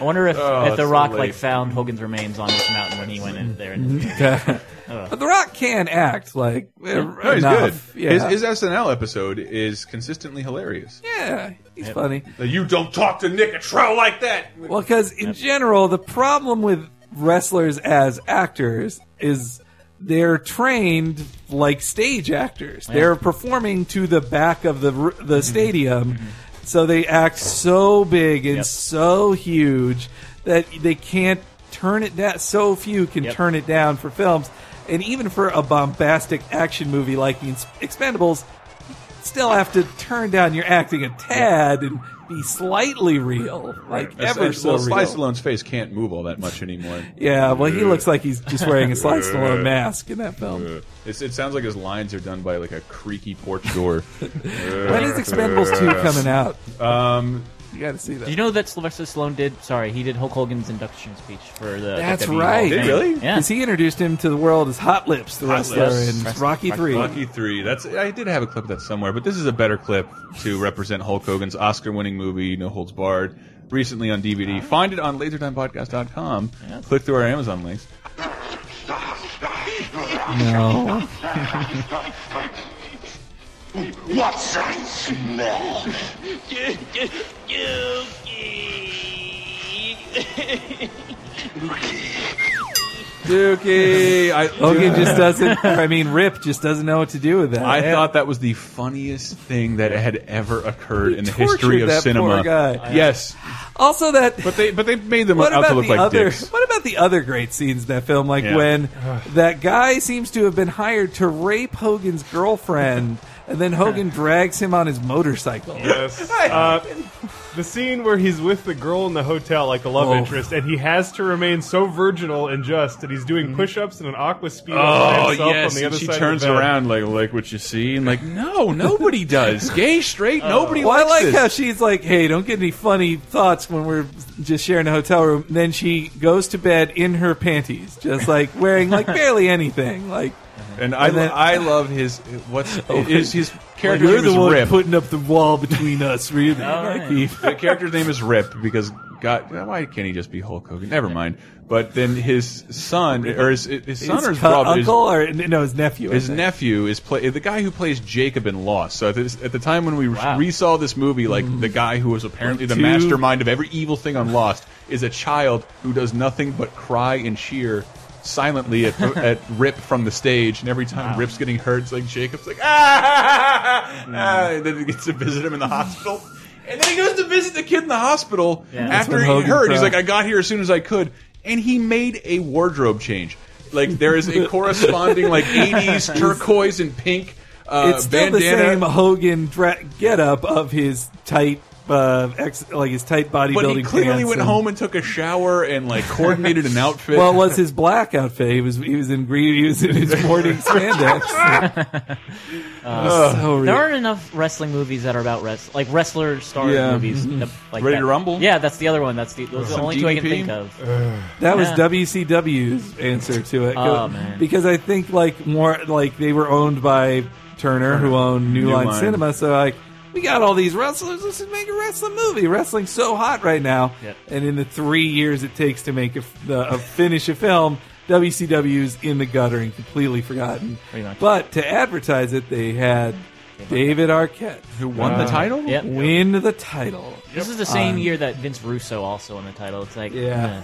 wonder if,
Oh,
if The
it's so
Rock
late. Mm-hmm.
like found Hogan's remains on this mountain when he went in there. And, Ugh.
but The Rock can act like eh,
No, he's
enough.
good.
Yeah,
His, his SNL episode is consistently hilarious.
Yeah, he's
Yep.
funny.
The You don't talk to Nick Atrell like that.
Well, because in general, the problem with wrestlers as actors is they're trained like stage actors.
Yeah.
They're performing to the back of the r-
Mm-hmm.
the stadium, so they act so big and so huge that they can't turn it down. So few can
Yep.
turn it down for films, and even for a bombastic action movie like The Ins- Expendables. you Still have to turn down your acting a tad and be slightly real, like
As-
ever
as-
so
well,
real.
Sly Stallone's face can't move all that much anymore.
Yeah, well, he looks like he's just wearing a Sly Stallone mask in that film.
It's, it sounds like his lines are done by like a creaky porch door.
When is Expendables 2 coming out?
Um,
You gotta see that.
Did you know that Sylvester Stallone did? Sorry, he did Hulk Hogan's induction speech for the.
That's
WWE
right.
Hall of Fame. Yeah.
Because he introduced him to the world as Hot Lips, the wrestler in Rocky 3.
Rocky Three. That's I did have a clip of that somewhere, but this is a better clip to represent Hulk Hogan's Oscar-winning movie No Holds Barred, recently on DVD. Find it on LaserTimePodcast.com. Click through our Amazon links.
No.
What's that smell?
Dookie. I,
Logan just doesn't. I mean, Rip just doesn't know what to do with that.
I thought that was the funniest thing that had ever occurred in the
tortured
history of
that
cinema.
poor guy.
Yes,
Also, that
but they but they made them
what
out to
about
look
the
like
other?
dicks.
What about the other great scenes in that film? Like
Yeah.
when that guy seems to have been hired to rape Hogan's girlfriend, and then Hogan drags him on his motorcycle.
Yes. Uh, the scene where he's with the girl in the hotel, like the love
Oh.
interest, and he has to remain so virginal and just that he's doing push-ups in an aqua speed. by
Mm-hmm. Oh
himself
yes,
on the
and
other
she
side of
turns
the bed.
around like like what you see, and like no, nobody does. Gay, straight, nobody.
Oh. Well, I
likes
like
this.
how she's like, "Hey, don't get any funny thoughts when we're just sharing a hotel room." Then she goes to bed in her panties, just like wearing like barely anything. Like,
And I,
And then-
I love his what's
Oh,
is his character
Well,
name
you're the
is
one
Rip.
putting up the wall between us, really. Oh. Like, he-
the character's name is Rip because God, why can't he just be Hulk Hogan? Never mind. But then his son or his, his son or his
co-
brother, his-
uncle, or no, his nephew. I
His
think.
nephew is play the guy who plays Jacob in Lost. So at, this, at the time when we re saw this movie, like the guy who was apparently the
Mm. Two-
mastermind of every evil thing on Lost is a child who does nothing but cry and cheer silently at, at Rip from the stage. And every time Rip's getting hurt, it's like Jacob's like ah,
Mm.
ah," and then he gets to visit him in the hospital. And then he goes to visit the kid in the hospital
Yeah. That's
after
when
he
Hogan
heard. He's
cried.
like, I got here as soon as I could. And he made a wardrobe change. Like, there is a corresponding, like, 80s turquoise and pink uh,
it's still
bandana.
the same Hogan dra- getup of his tight, uh, ex- like his tight bodybuilding.
but he clearly
pants
went
and-
home and took a shower and, like, coordinated an outfit.
Well, it was his black outfit. He was he was in green. He was in his morning spandex.
Uh,
So
there
real.
aren't enough wrestling movies that are about wrest like wrestler star
Yeah.
movies.
Mhm.
that- like
Mm-hmm. Ready
that.
to Rumble?
Yeah, that's the other one. That's the those are the
Some
only two I can
DDP?
think of.
That was
Yeah.
WCW's answer to it.
Oh, man.
Because I think like more like they were owned by Turner, who owned New,
New
Line,
Line.
Cinema. So like we got all these wrestlers. Let's just make a wrestling movie. Wrestling's so hot right now.
Yep.
And in the three years it takes to make a, f- the, a finish a film, WCW's in the gutter and completely forgotten.
Pretty much.
But to advertise it, they had David Arquette, uh,
who won
Uh,
the title?
Yep.
win the title.
This is the same
Um,
year that Vince Russo also won the title. It's like uh,
Yeah.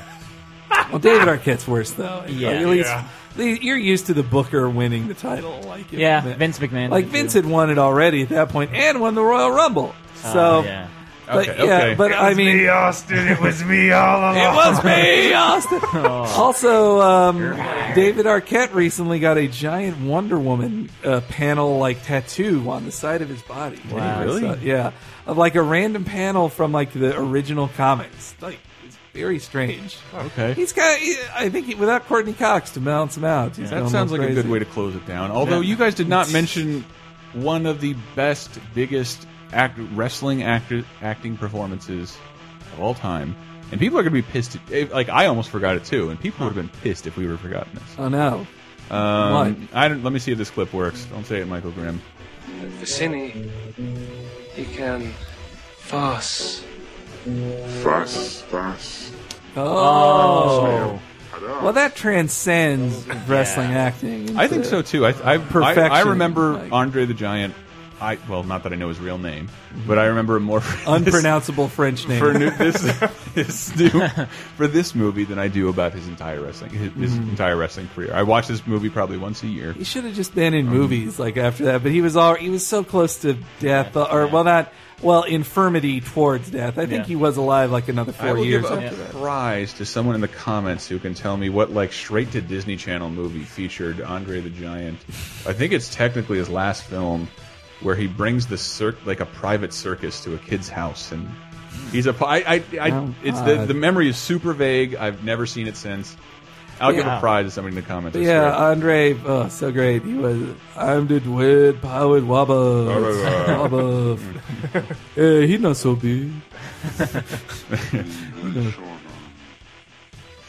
Well, David Arquette's worse though.
Yeah.
at least
Yeah.
at least you're used to the Booker winning the title. Like, if-
Yeah, Vince McMahon
Like
did,
Vince
too.
had won it already at that point, and won the Royal Rumble. So,
Oh, yeah.
but
Okay,
yeah,
okay.
but I mean,
me, Austin. It was me all along.
it was me, Austin. Also, um, David Arquette recently got a giant Wonder Woman uh, panel like tattoo on the side of his body.
Wow.
So,
Really?
yeah, of like a random panel from like the original comics. Like, it's very strange.
Oh, Okay.
He's got. he- I think he, without Courtney Cox to balance him out, he's
That
going
sounds like
little
a good
crazy.
way to close it down. Although
Yeah.
you guys did not mention one of the best, biggest act wrestling actor acting performances of all time. And people are going to be pissed. At, eh, like I almost forgot it too, and people would have been pissed if we were forgotten this.
Oh no!
Um, I don't, let me see if this clip works. Don't say it, Michael Grimm.
Vicini, he can fuss.
Fuss, fuss.
Oh. Well, that transcends wrestling acting.
I think so too. I I, I, I
Perfection,
remember
like-
Andre the Giant. I well, not that I know his real name, but I remember more
Unpronounceable French name.
for new, this this new for this movie than I do about his entire wrestling his, his
Mhm.
entire wrestling career. I watch this movie probably once a year.
He should have just been in movies like after that, but he was all he was so close to death, uh, or well, not well, infirmity towards death. I think
Yeah.
he was alive like another
I
four
will
years.
give
after
a
that.
prize to someone in the comments who can tell me what like straight to Disney Channel movie featured Andre the Giant. I think it's technically his last film, where he brings the circ like a private circus to a kid's house, and he's a. I, I, I
Oh,
it's the
God.
the memory is super vague. I've never seen it since. I'll give
Yeah.
a prize to somebody in the comments. I
But yeah,
swear.
Andre, oh, so great. He was, I'm the weird powered wobble. wobble. hey, Uh, he not so big.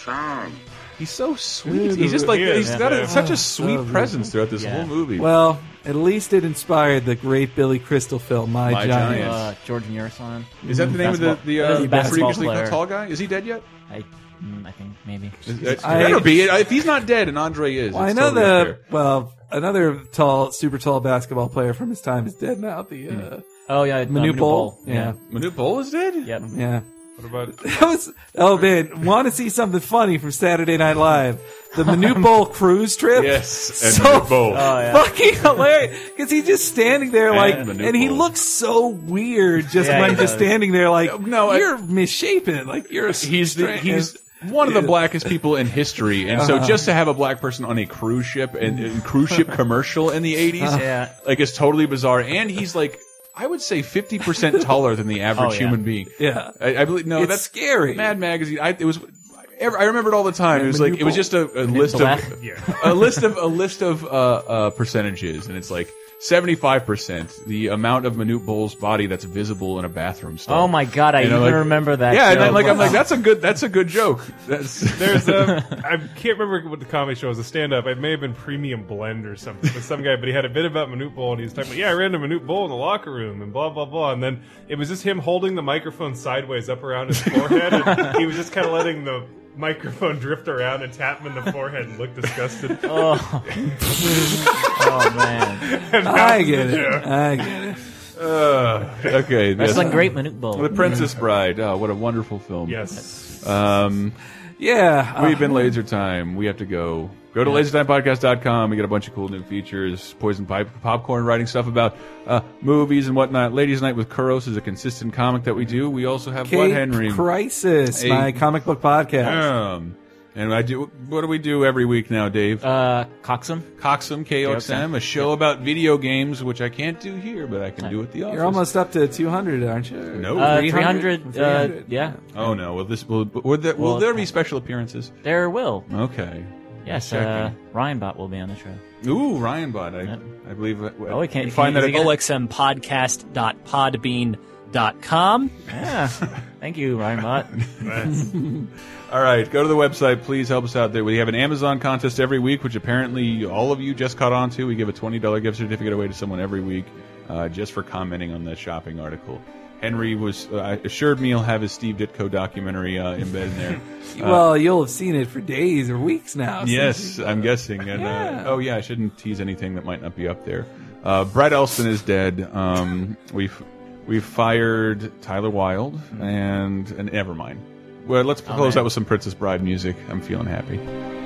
Tom,
He's so sweet. He's just like
He is,
he's got
yeah.
a, such
Oh,
a sweet
so good.
presence throughout this whole movie.
Well, at least it inspired the great Billy Crystal film, My,
My
Giant.
Giant.
Uh, George Murison.
Is that the name of the- the, uh,
basketball
previously
player.
tall guy? Is he dead yet?
I, mm, I think maybe.
It better be. If he's not dead, and Andre is,
Well, I
it's
know
totally
the
unfair.
well another tall, super tall basketball player from his time is dead now. The
Hmm.
uh,
oh yeah,
Manute Bol. Yeah.
Manute Bol is dead.
Yep.
Yeah.
What about
That was oh man, want to see something funny from Saturday Night Live? The Manute Bowl cruise trip.
Yes, and
so
Manute Bol. Oh, yeah.
fucking hilarious because he's just standing there like,
And
and,
Manute
he
Bol.
looks so weird just
Yeah,
when
he
just
does.
standing there like,
no, I-
you're misshapen. Like you're a
he's the,
stra-
he's one of the blackest people in history, and so
Uh-huh.
just to have a black person on a cruise ship and, and cruise ship commercial in the eighties,
Yeah.
like it's totally bizarre. And he's like, I would say fifty percent taller than the average
Oh, yeah.
human being.
Yeah.
I, I believe. No,
It's
that's
scary.
Mad Magazine. I, it was. I remember it all the time. It was like it was just a, a
And
list
black.
of a list of a list of uh, uh, percentages, and it's like seventy five percent the amount of Manute Bowl's body that's visible in a bathroom stall.
Oh my god, I
You know,
even
like-
remember that.
Yeah, and
joke.
I'm like I'm like that's a good that's a good joke. That's
There's a I can't remember what the comedy show was. A stand up. It may have been Premium Blend or something. But some guy, but he had a bit about Manute Bowl, and he was talking about yeah, I ran to Manute Bowl in the locker room, and blah blah blah. And then it was just him holding the microphone sideways up around his forehead. and he was just kind of letting the microphone drift around and tap him in the forehead and look disgusted.
Oh. oh man,
And that was the joke.
Uh, okay,
Wrestling great Manute Bol.
The Princess Bride. Oh, what a wonderful film.
Yes.
Um,
Uh,
Yeah.
We've been laser time. We have to go. Go to lasertimepodcast.com. We got a bunch of cool new features. Poison Pipe, Popcorn, writing stuff about uh, movies and whatnot. Ladies Night with Kuros is a consistent comic that we do. We also have Blood
Cape
Henry.
Crisis,
A-
my comic book podcast.
Um, and I do. What do we do every week now, Dave?
Uh, Coxum.
Coxum, KOXM, a show about video games, which I can't do here, but I can do at the office.
You're almost up to 200, aren't you?
No.
Uh, 300, uh,
300.
yeah.
Oh no! Will this will will there, will
Well-
there be special appearances?
There will.
Okay.
Yes,
Checking.
uh, Ryan Bot will be on the show.
Ooh, Ryan Bot. I, I believe. uh,
Oh, I can't
you find that at
olxmpodcast.podbean.com.
Yeah. Thank you, Ryan Mott.
All right, go to the website. Please help us out there. We have an Amazon contest every week, which apparently all of you just caught on to. We give a $20 gift certificate away to someone every week uh, just for commenting on the shopping article. Henry was uh, assured me he'll have his Steve Ditko documentary uh, embedded in there. Uh,
well, you'll have seen it for days or weeks now. since you-
Yes, I'm guessing. And uh, oh yeah, I shouldn't tease anything that might not be up there. Uh, Brett Elston is dead. Um, we've we've fired Tyler Wilde and and never mind. Well, let's
Mm-hmm. Oh,
close
man.
out with some Princess Bride music. I'm feeling happy.